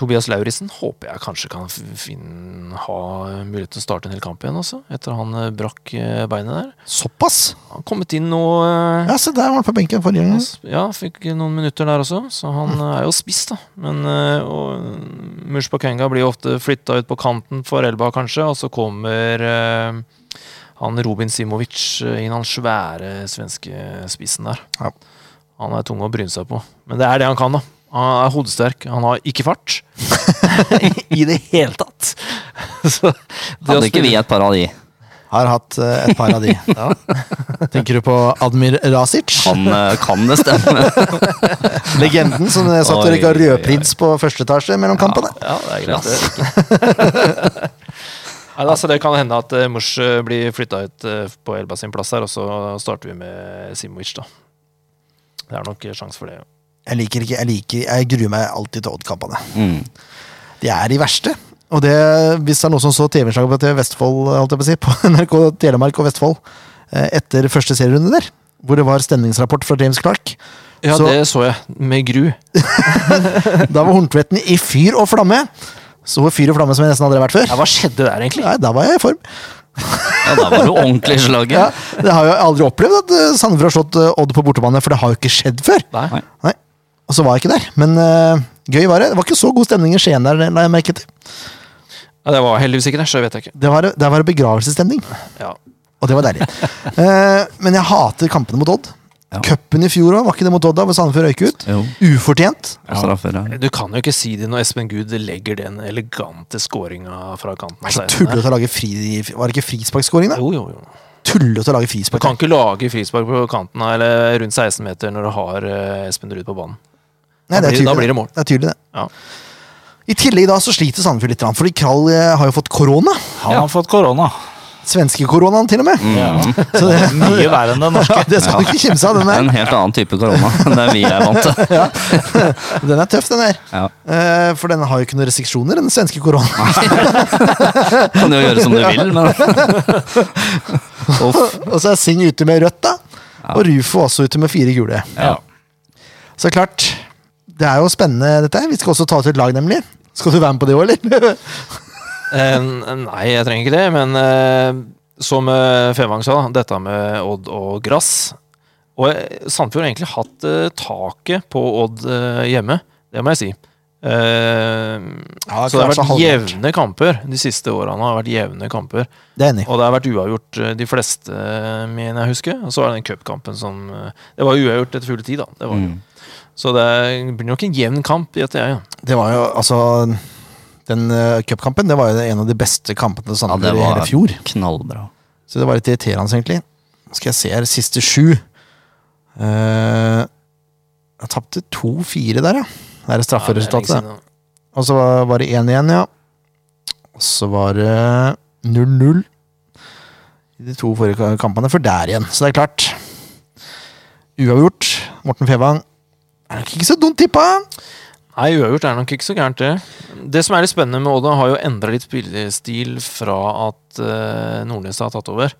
Tobias Lauritzen håper jeg kanskje kan f- finne, ha mulighet til å starte en hel kamp igjen, altså. Etter han eh, brakk eh, beinet der.
Såpass!
Han har kommet inn nå eh,
Ja, se der var han på benken forrige
Mm.
gang.
Yes. Altså, Ja, fikk noen minutter der også, så han eh, er jo spiss, da. Men eh, og, Mush Bakenga blir jo ofte flytta ut på kanten for Elba, kanskje, og så kommer eh, han Robin Simovic eh, inn, han svære svenske spissen der.
Ja.
Han er tung å bryne seg på, men det er det han kan, da. Han er hodesterk. Han har ikke fart i det hele tatt. Så, det å
Hadde ikke vi
spille-
et par av de?
Har hatt eh, et par av de. Tenker du på Admir Rasic?
Han eh, kan det stemme.
Legenden som eh, satt og
Oi,
røyka
oi, oi.
rødprins på første etasje mellom kampene.
Ja, det er greit.
Klass.
Nei, altså det kan hende at uh, Mors eh, blir flytta ut eh, på Elba sin plass her, og så starter vi med Simovic, da. Det er nok eh, sjans for det. ja.
Jeg liker ikke, jeg liker Jeg gruer meg alltid til Odd-kampene.
Mm.
De er de verste. Og det, hvis det er noen som så TV-innslaget på TV Vestfold, holdt jeg på å si, på NRK Telemark og Vestfold, eh, etter første serierunde der, hvor det var stemningsrapport fra James Clark,
Ja,
så
det så jeg. Med gru.
da var Horntvedten i fyr og flamme. Så fyr og flamme som jeg nesten aldri har vært før.
Ja, hva skjedde der, egentlig?
Nei, da var jeg i form.
Ja, da var du ordentlig i slaget.
Ja, det har jeg aldri opplevd at eh, Sandefjord har slått eh, Odd på bortebane, for det har jo ikke skjedd før.
Nei.
Nei, Og så var jeg ikke der. Men eh, gøy var det. Det var ikke så god stemning i Skien der, la jeg merke til.
Ja, det var heldigvis ikke der, så jeg vet jeg ikke.
Det var, der var det begravelsesstemning.
Ja.
Og det var deilig. Eh, men jeg hater kampene mot Odd. Cupen i fjor òg, var ikke det mot Odd da, hvor Sandefjord røyk ut?
Jo.
Ufortjent.
Og Straffer, ja.
Du kan jo ikke si det når Espen Gud legger den elegante scoringa fra kanten. av
Så
16 her.
tullete å lage fri... Var det ikke frisparkskåring, da?
Jo, jo, jo.
Tullete å lage
Du
frispark.
kan ikke lage frispark på kanten av- eller rundt 16 meter når du har eh, Espen Ruud på banen.
Nei,
da blir- da blir det mål.
Det er tydelig, det.
Ja.
I tillegg da så sliter Sandefjord litt, fordi Krall eh, har jo fått korona.
Han har fått korona.
Svenskekoronaen, til og med.
Mm.
Mm.
Så det,
Mye verre enn det norske.
ja, det skal du ikke kimse av. Den
Det er
er,
en helt annen type korona enn det vi er vant til.
den er tøff, den der.
Ja.
Eh, for den har jo ikke noen restriksjoner, den svenske koronaen.
Kan jo gjøre som du vil, men Uff.
og så er Singh ute med rødt, da. Og Rufo også ute med fire gule.
Ja.
Så klart, det er jo spennende dette her. Vi skal også ta ut et lag, nemlig. Skal du være med på det òg, eller?
Eh, nei, jeg trenger ikke det, men eh, som eh, Fevang sa, dette med Odd og Grass Og eh, Sandefjord har egentlig hatt eh, taket på Odd eh, hjemme, det må jeg si. Eh,
Ja, klart,
så det har
så
vært
halvert.
jevne kamper de siste årene. har vært jevne kamper
det er jeg enig. i.
Og det har vært uavgjort eh, de fleste, eh, mener jeg husker. Og så var det den cupkampen som eh, Det var uavgjort etter fulle tid, da. Det var, det. Så det blir nok en jevn kamp, gjetter jeg. Ja.
Det var jo altså Den eh, cupkampen det var jo en av de beste kampene
ja,
Sandefjord
det
i
var
hele fjor.
knallbra.
Så det var litt irriterende, egentlig. Nå skal jeg se her, siste sju. Eh, jeg tapte 2-4 der, ja. Det er strafferesultatet.
Ja, det er lenge siden, da.
Og så var var det 1 igjen, ja. Og så var det 0-0 i de to forrige ka- kampene, for der igjen. Så det er klart. Uavgjort. Morten Fevang er nok ikke så dumt tippa.
Nei, uavgjort er nok ikke så gærent, det. Det som er litt spennende med Odda, har jo endra litt spillestil fra at eh, Nordnes har tatt over.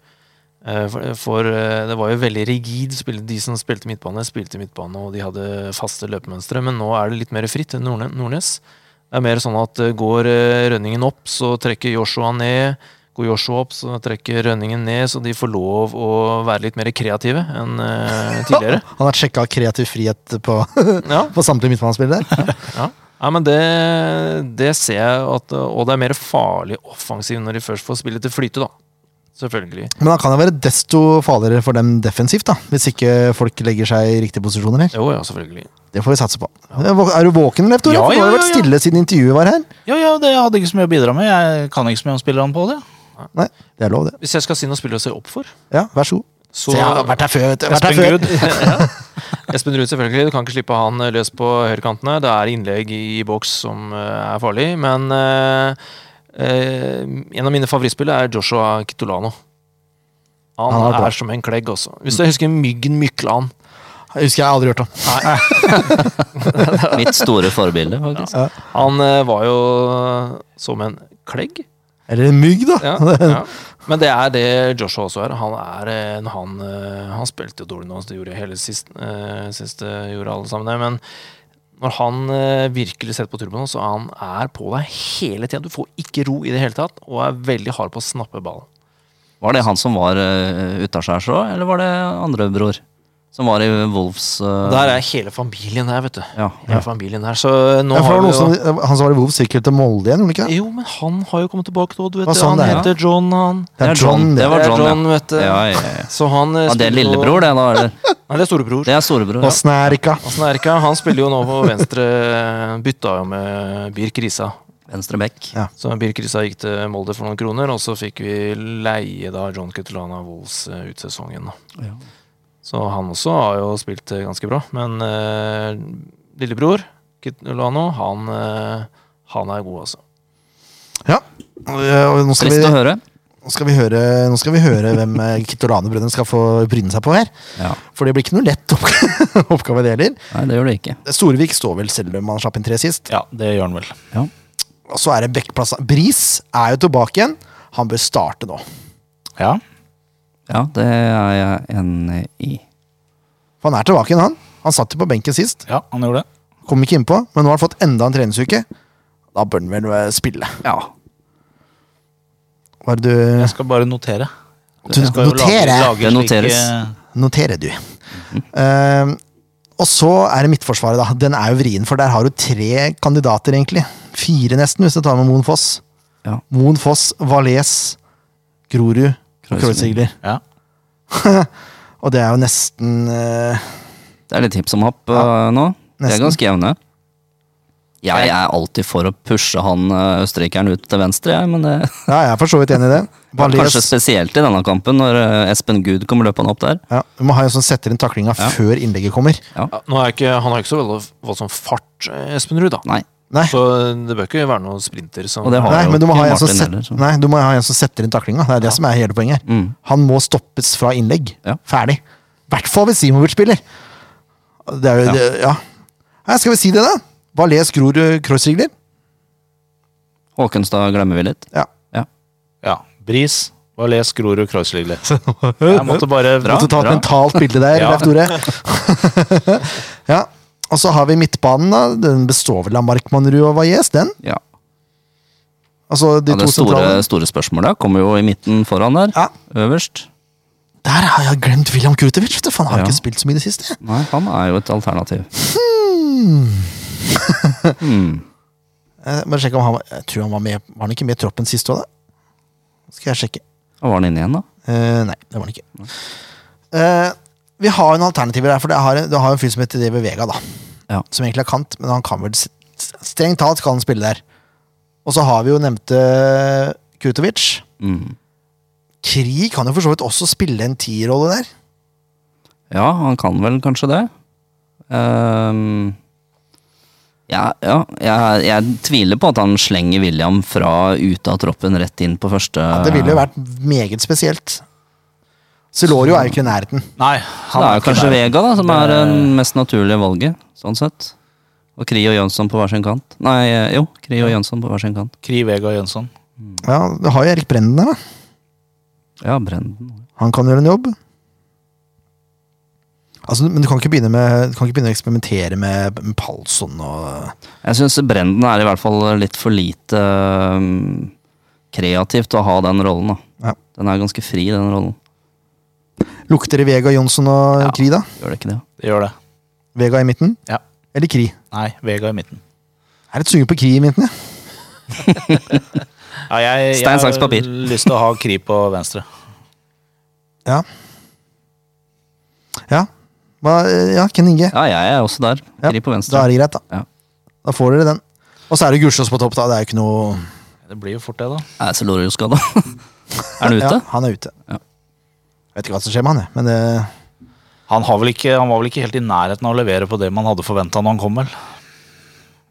Eh, for for eh, det var jo veldig rigid. Spil, de som spilte midtbane, spilte midtbane, og de hadde faste løpemønstre. Men nå er det litt mer fritt enn Nordne- Nordnes. Det er mer sånn at eh, går eh, Rønningen opp, så trekker Joshua ned. Går Joshua opp, så trekker Rønningen ned, så de får lov å være litt mer kreative enn eh, tidligere.
Han har sjekka kreativ frihet på,
Ja,
på samtlige midtbanespillere. der.
ja. Nei, men det, det ser jeg at Og det er mer farlig offensiv når de først får spillet til flyte, da. Selvfølgelig.
Men da kan det være desto farligere for dem defensivt, da. Hvis ikke folk legger seg i riktige posisjoner her.
Jo, ja, selvfølgelig.
Det får vi satse på. Er du våken, Leif Tore?
Ja,
For Du har
ja,
jo vært
ja, ja.
stille siden intervjuet var her.
Jo, ja, det hadde ikke så mye å bidra med. Jeg kan ikke så mye om spillerne på det.
Nei, det er lov, det.
Hvis jeg skal si noen spillere å se opp for,
Ja, vær så god.
så
Se, jeg har vært her før, vet du. Jeg har Vært
Espen
her før.
Ruud.
Espen Ruud, selvfølgelig. Du kan ikke slippe han løs på høyrekantene. Det er innlegg i boks som eh, er farlig, men eh, eh, en av mine favorittspillere er Joshua Kitolano. Han,
Han er bra.
er, som en klegg, også. Hvis du husker Myggen Mykland.
Jeg husker jeg har aldri hørt om.
Mitt store forbilde, faktisk.
Han eh, var jo eh, som en klegg.
Eller en mygg, da.
Ja, ja. Men det er det Joshua også er. Han, er eh, når han, eh, han spilte jo dårlig nå, så det gjorde hele sist, eh, siste gjorde alle sammen det. Men når han eh, virkelig setter på turboen, så han er på deg hele tida. Du får ikke ro i det hele tatt, og er veldig hard på å snappe ballen.
Var det han som var uh, utaskjærs òg, eller var det andre bror? Som var i Wolfs eh,
Der er hele familien her, vet du.
Ja.
Hele familien her, så eh, nå
Ja, for det var
har vi
noen
jo
som, han som var i Vov, sykkel til Molde igjen, gjorde han ikke det?
Jo, men han har jo kommet tilbake nå, du vet
Hva
det.
sa han
Han
der,
heter John, han.
Det er John, det.
Det var
Det er
John,
John, vet du.
ja. ja, ja, ja.
Så han eh,
ja det er
spiller jo-
lillebror, det, da? Eller?
Nei, det er storebror.
Det er storebror.
Og Snerika.
Åssen er det ikke? Han spiller jo nå på venstre. Bytta jo med Birk Risa.
Venstre bekk.
Så Birk Risa gikk til Molde for noen kroner, og så fikk vi leie da John Catalana Wolls eh, ut sesongen. da.
Ja.
Så han også har jo spilt eh, ganske bra. Men eh, lillebror Catalano, han, eh, han er god, altså.
Ja. Eh, Og nå skal, vi,
Trist å høre.
nå, skal vi høre, nå skal vi høre hvem eh, Kitolane-brødrene skal få bryne seg på her.
Ja.
For det blir ikke noe lett oppgave, oppgave det heller.
Nei, det gjør det ikke.
Storevik står vel selv om han slapp inn tre sist.
Ja, det gjør han vel.
Og så er det backplass. Bris er jo tilbake igjen. Han bør starte nå.
Ja.
Ja, det er jeg enig i.
For han er tilbake igjen, han. Han satt jo på benken sist.
ja, han gjorde det.
Kom ikke innpå, men nå har han fått enda en treningsuke. Da bør han vel eh, spille.
Ja.
Hva er det du
Jeg skal bare notere.
Du
Jeg skal jo
noterer.
Det noteres.
slike-
noterer du. Eh, og så er det Midtforsvaret, da. Den er jo vrien, for der har du tre kandidater, egentlig. Fire, nesten, hvis du tar med Moen Foss.
Ja.
Moen Foss, Valais, Grorud og Kreuzigler.
Kreuzigler.
Ja.
Og det er jo nesten eh,
Det er litt hipp som happ eh, nå. De
Nesten.
er ganske jevne. Jeg er alltid for å pushe han eh, østerrikeren ut til venstre, jeg, men det
Ja, jeg er for så vidt enig i det. Valais
Kanskje spesielt i denne kampen, når eh, Espen Gud kommer løpende opp der.
ja, Du må ha en som setter inn taklinga før innlegget kommer.
Ja, nå er ikke, han har ikke så veldig voldsom fart, eh, Espen Ruud, da.
Nei.
Nei,
Så det bør ikke være noen sprinter som
Og det har
nei,
jo
men du må, ha
ikke
en som
Martin
set,
heller, så-
nei, du må ha en som setter inn taklinga. Det er det som er hele poenget. her.
Mm.
Han må stoppes fra innlegg.
Ja.
Ferdig. I hvert fall hvis Simovic spiller. Det er jo, ja. Det, ja. Nei, skal vi si det, da? Valais Grorud eh, Kreuzigler?
Håkenstad glemmer vi litt.
Ja.
Ja.
ja. Bris, Valais, Grorud, Kreuzligler. Jeg måtte bare
Bra.
Måtte ta et mentalt bilde der,
Ja.
Leif Tore. ja. Og så har vi midtbanen. da. Den består vel av Mark Manrud og Valais, den?
Ja.
Altså de
ja det
to
store,
sentrale.
store spørsmålet kommer jo i midten foran der.
Ja.
Øverst.
Der har jeg glemt William Krutovic! vet du, for Han har
Ja.
ikke spilt så mye i det siste.
Nei, han er jo et alternativ.
Hmm.
Mm.
Jeg, Eh, bare sjekke om han, var- jeg tror han var med Var han ikke med i troppen sist òg, da? Skal jeg sjekke.
Da var han inne igjen, da.
Eh, nei, det var den ikke. Eh, vi har jo noen alternativer der, for det har, det har en fyr som heter David Vega, da.
Ja.
Som egentlig er kant, men han kan vel s- Strengt talt kan han spille der. Og så har vi jo nevnte Kutovic.
Mm.
Kri kan jo for så vidt også spille en tierrolle der.
Ja, han kan vel kanskje det. Ehm, ja, ja jeg, jeg tviler på at han slenger William fra ute av troppen rett inn på første
Ja, det ville jo vært meget spesielt. Celorio er jo ikke i nærheten.
Nei,
Det
han
er jo
ikke
kanskje
der.
Vega da, som er det mest naturlige valget, sånn sett. Og Kri og Jønsson på hver sin kant. Nei, eh, jo, Kri og Jønsson på hver sin kant.
Kri Vega Jønsson.
Ja, Du har jo Erik Brenden der, da.
Ja, Brenden.
Han kan gjøre en jobb. Altså, men du kan ikke begynne, med, du kan ikke begynne å eksperimentere med, med Palsson og
Jeg syns Brenden er i hvert fall litt for lite eh, kreativt å ha den rollen, da.
Ja.
Den er ganske fri, den rollen.
Lukter det Vega Jonsson og
Ja.
Kri, da?
Gjør det ikke det?
Det gjør det.
Vega i midten?
Ja.
Eller Kri?
Nei, Vega i midten.
Jeg er litt sugen på Kri i midten, jeg.
Ja, jeg, jeg
Stein, saks, papir.
har lyst til å ha Kri på venstre.
Ja. Ja, Hva, eh, ja Ken Inge.
Ja, jeg er også der.
Ja,
Kri på
Da
venstre.
er det greit, da.
Ja.
Da får dere den. Og så er det Gussiås på topp, da. Det er jo ikke noe
Det blir jo fort det, da.
Jeg er Celorio-skada. er han ute?
Ja, han er ute.
Ja.
Vet ikke hva som skjer med han, jeg. Men eh, det
Han, har vel ikke, han var vel ikke helt i nærheten av å levere på det man hadde forventa når han kom, vel?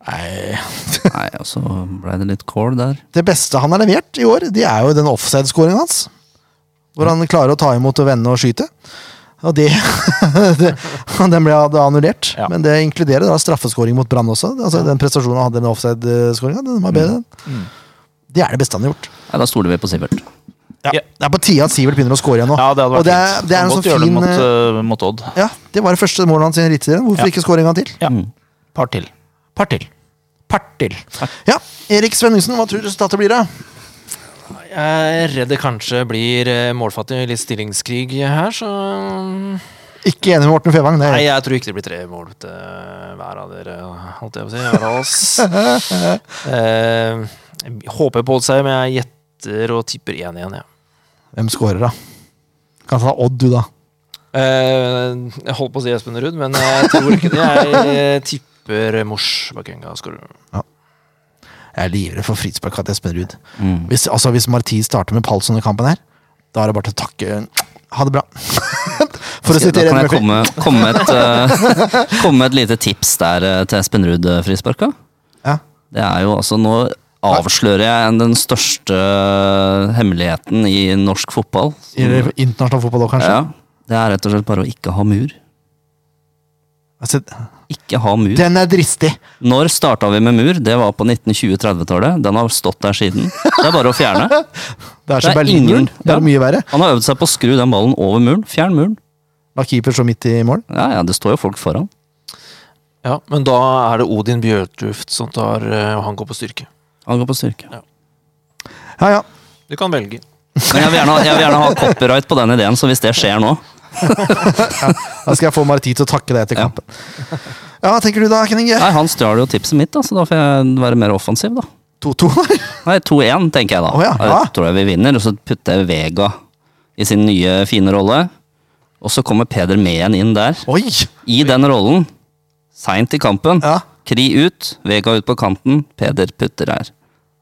Nei, og så ble det litt kål der.
det beste han har levert i år, det er jo den offside-skåringen hans. Hvor han klarer å ta imot og vende og skyte. Og det, det Den ble da annullert.
Ja.
Men det inkluderer da straffeskåring mot Brann også. Altså, Den prestasjonen han hadde med offside-skåringa, den var bedre.
Mm.
Det er det beste han har gjort.
Nei, da stoler vi på Sivert.
Ja.
Ja.
Det er på tide at Sivert begynner å score igjen nå.
Ja, det hadde vært
og det er,
fint.
det er en
Kan godt
sånn
gjøre
fin
det mot,
eh,
eh, mot Odd.
Ja, det var det første målet hans i Eliteserien. Hvorfor ikke score en gang til?
Ja. Par til. Par til. Par til.
Ja, Erik Svenningsen, hva tror du resultatet blir? da?
Jeg er redd det kanskje blir eh, målfattig litt stillingskrig her, så
Ikke enig med Morten Fevang. Det
Nei,
er
jeg tror ikke det blir tre mål til hver av dere, holdt jeg på å si. Hver av oss. Eh, jeg håper på seg, men jeg gjetter og tipper 1 igjen, jeg.
Hvem scorer, da? Kanskje det er Odd, du, da.
Eh, jeg holdt på å si Espen Ruud, men jeg tror ikke det. Jeg eh, tipper Mors Bakenga skårer.
Jeg er livredd for frispark til Espen Ruud. Hvis, altså, hvis Marti starter med Palsson i kampen her, da er det bare til å takke Ha det bra. for å
Da
sitere
kan jeg
Eddie Murphy.
komme, komme, med et, eh, komme med et lite tips der eh, til Espen Ruud eh, frisparka.
Ja.
Det er jo altså Nå avslører jeg en- den største eh, hemmeligheten i norsk fotball.
I internasjonal fotball òg, kanskje.
Ja, det er rett og slett bare å ikke ha mur.
Altså,
Ikke ha mur.
den er dristig!
Når starta vi med mur? Det var på 1920-30-tallet. Den har stått der siden. Det er bare å fjerne.
Det er som
Det er
Berlinmuren.
ingen-
Det
ja.
er mye verre.
Han har øvd seg på å skru den ballen over muren. Fjern muren.
La keeper så midt i mål.
Ja, ja, det står jo folk foran.
Ja, men da er det Odin Bjørtuft som tar eh, Og han går på styrke.
Han går på styrke.
Ja, ja.
Du kan velge.
Men jeg vil gjerne, ha- jeg vil gjerne ha copyright på den ideen, så hvis det skjer nå
Da skal jeg få Marti til å takke deg etter
Ja.
kampen. Ja, Hva tenker du da, Kenning?
Nei, han stjal jo tipset mitt, da, så da får jeg være mer offensiv, da.
2-2, eller?
Nei, 2-1, tenker jeg da.
Å ja, ja.
Jeg tror jeg vi vinner, og så putter jeg Vega i sin nye, fine rolle. Og så kommer Peder Mehen inn der,
Oi!
i den rollen. Seint i kampen.
Ja.
Kri ut, Vega ut på kanten, Peder putter her.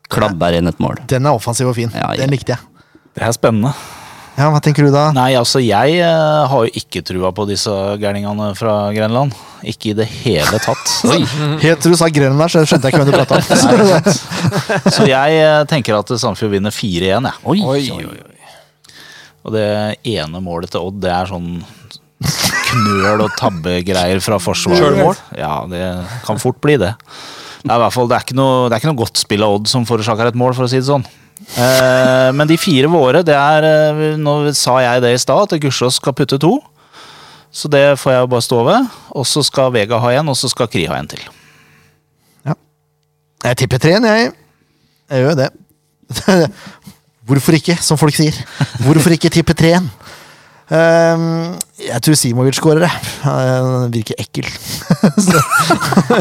Klabber inn et mål.
Den er offensiv og fin.
Ja, ja.
Den likte jeg.
Det er spennende.
Ja, Hva tenker du da?
Nei, altså jeg eh, har jo ikke trua på disse gærningene fra Grenland. Ikke i det hele tatt.
Mm.
Helt til du sa Grønland der, så skjønte jeg ikke hvem du prata om.
Så jeg eh, tenker at Sandefjord vinner 4-1, jeg.
Oi, oi, oi.
Og det ene målet til Odd, det er sånn knøl og tabbegreier fra forsvaret.
Selvmål?
Ja, det kan fort bli det. Det er i hvert fall, det er ikke noe, det er ikke noe godt spill av Odd som forårsaker et mål, for å si det sånn. Eh, men de fire våre, det er eh, Nå sa jeg det i stad, at Gussiås skal putte to. Så det får jeg jo bare stå ved. Og så skal Vega ha en, og så skal Kri ha en til.
Jeg tipper treen, jeg. Jeg gjør jo det. Hvorfor ikke, som folk sier. Hvorfor ikke tippe treen? Ehm, jeg tror Simovic skårer, jeg. Han virker ekkel. Så,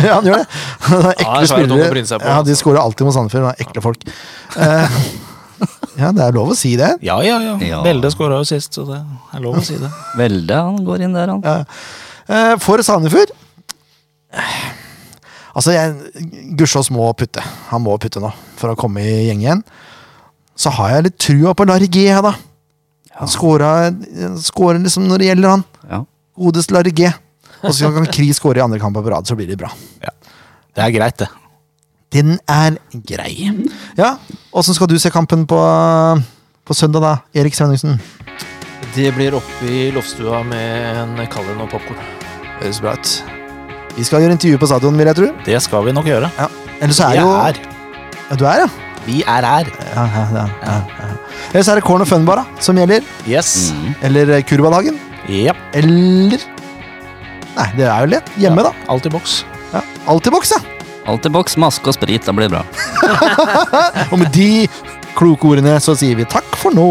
ja, han gjør det. Han er
Ja,
Ekle
det er svære tunge å
spillere.
bryne seg på,
Ja, de
altså.
skårer alltid mot Sandefjord. han er Ekle folk. Eh, ja, det er lov å si det.
Ja, ja, ja.
Ja.
Belde skåra jo sist, så det er lov å si det.
Velde, han går inn der, han.
Eh, for Sandefjord eh, Altså, jeg Gussiås må putte. Han må putte nå, for å komme i gjeng igjen. Så har jeg litt trua på Larry G, jeg, da. Han skåra skårer liksom når det gjelder, han.
Ja.
Godeste Larry G. Og så kan Kri skåre i andre kamper på rad, så blir det bra.
Det er greit, det.
Den er grei. Ja, åssen skal du se kampen på, på søndag, da, Erik Svenningsen?
Det blir oppe i loftstua med en kallen og popkorn.
Høres bra ut. Vi skal gjøre intervju på stadion, vil jeg tro.
Det skal vi nok gjøre.
Ja. Eller så er
Vi
jo
er her.
Ja, du er, ja?
Vi er her.
Ja, ja, ja, ja, ja. Ellers er det Corn og Fun Bar da, som gjelder.
Yes.
Eller eh, Kurvadhagen.
Jep.
Eller Nei, det er jo lett. Hjemme, da.
Alt i boks.
Ja. Alt i boks, ja.
Alltid boks, maske og sprit, det blir bra.
Og med de kloke ordene så sier vi takk for nå.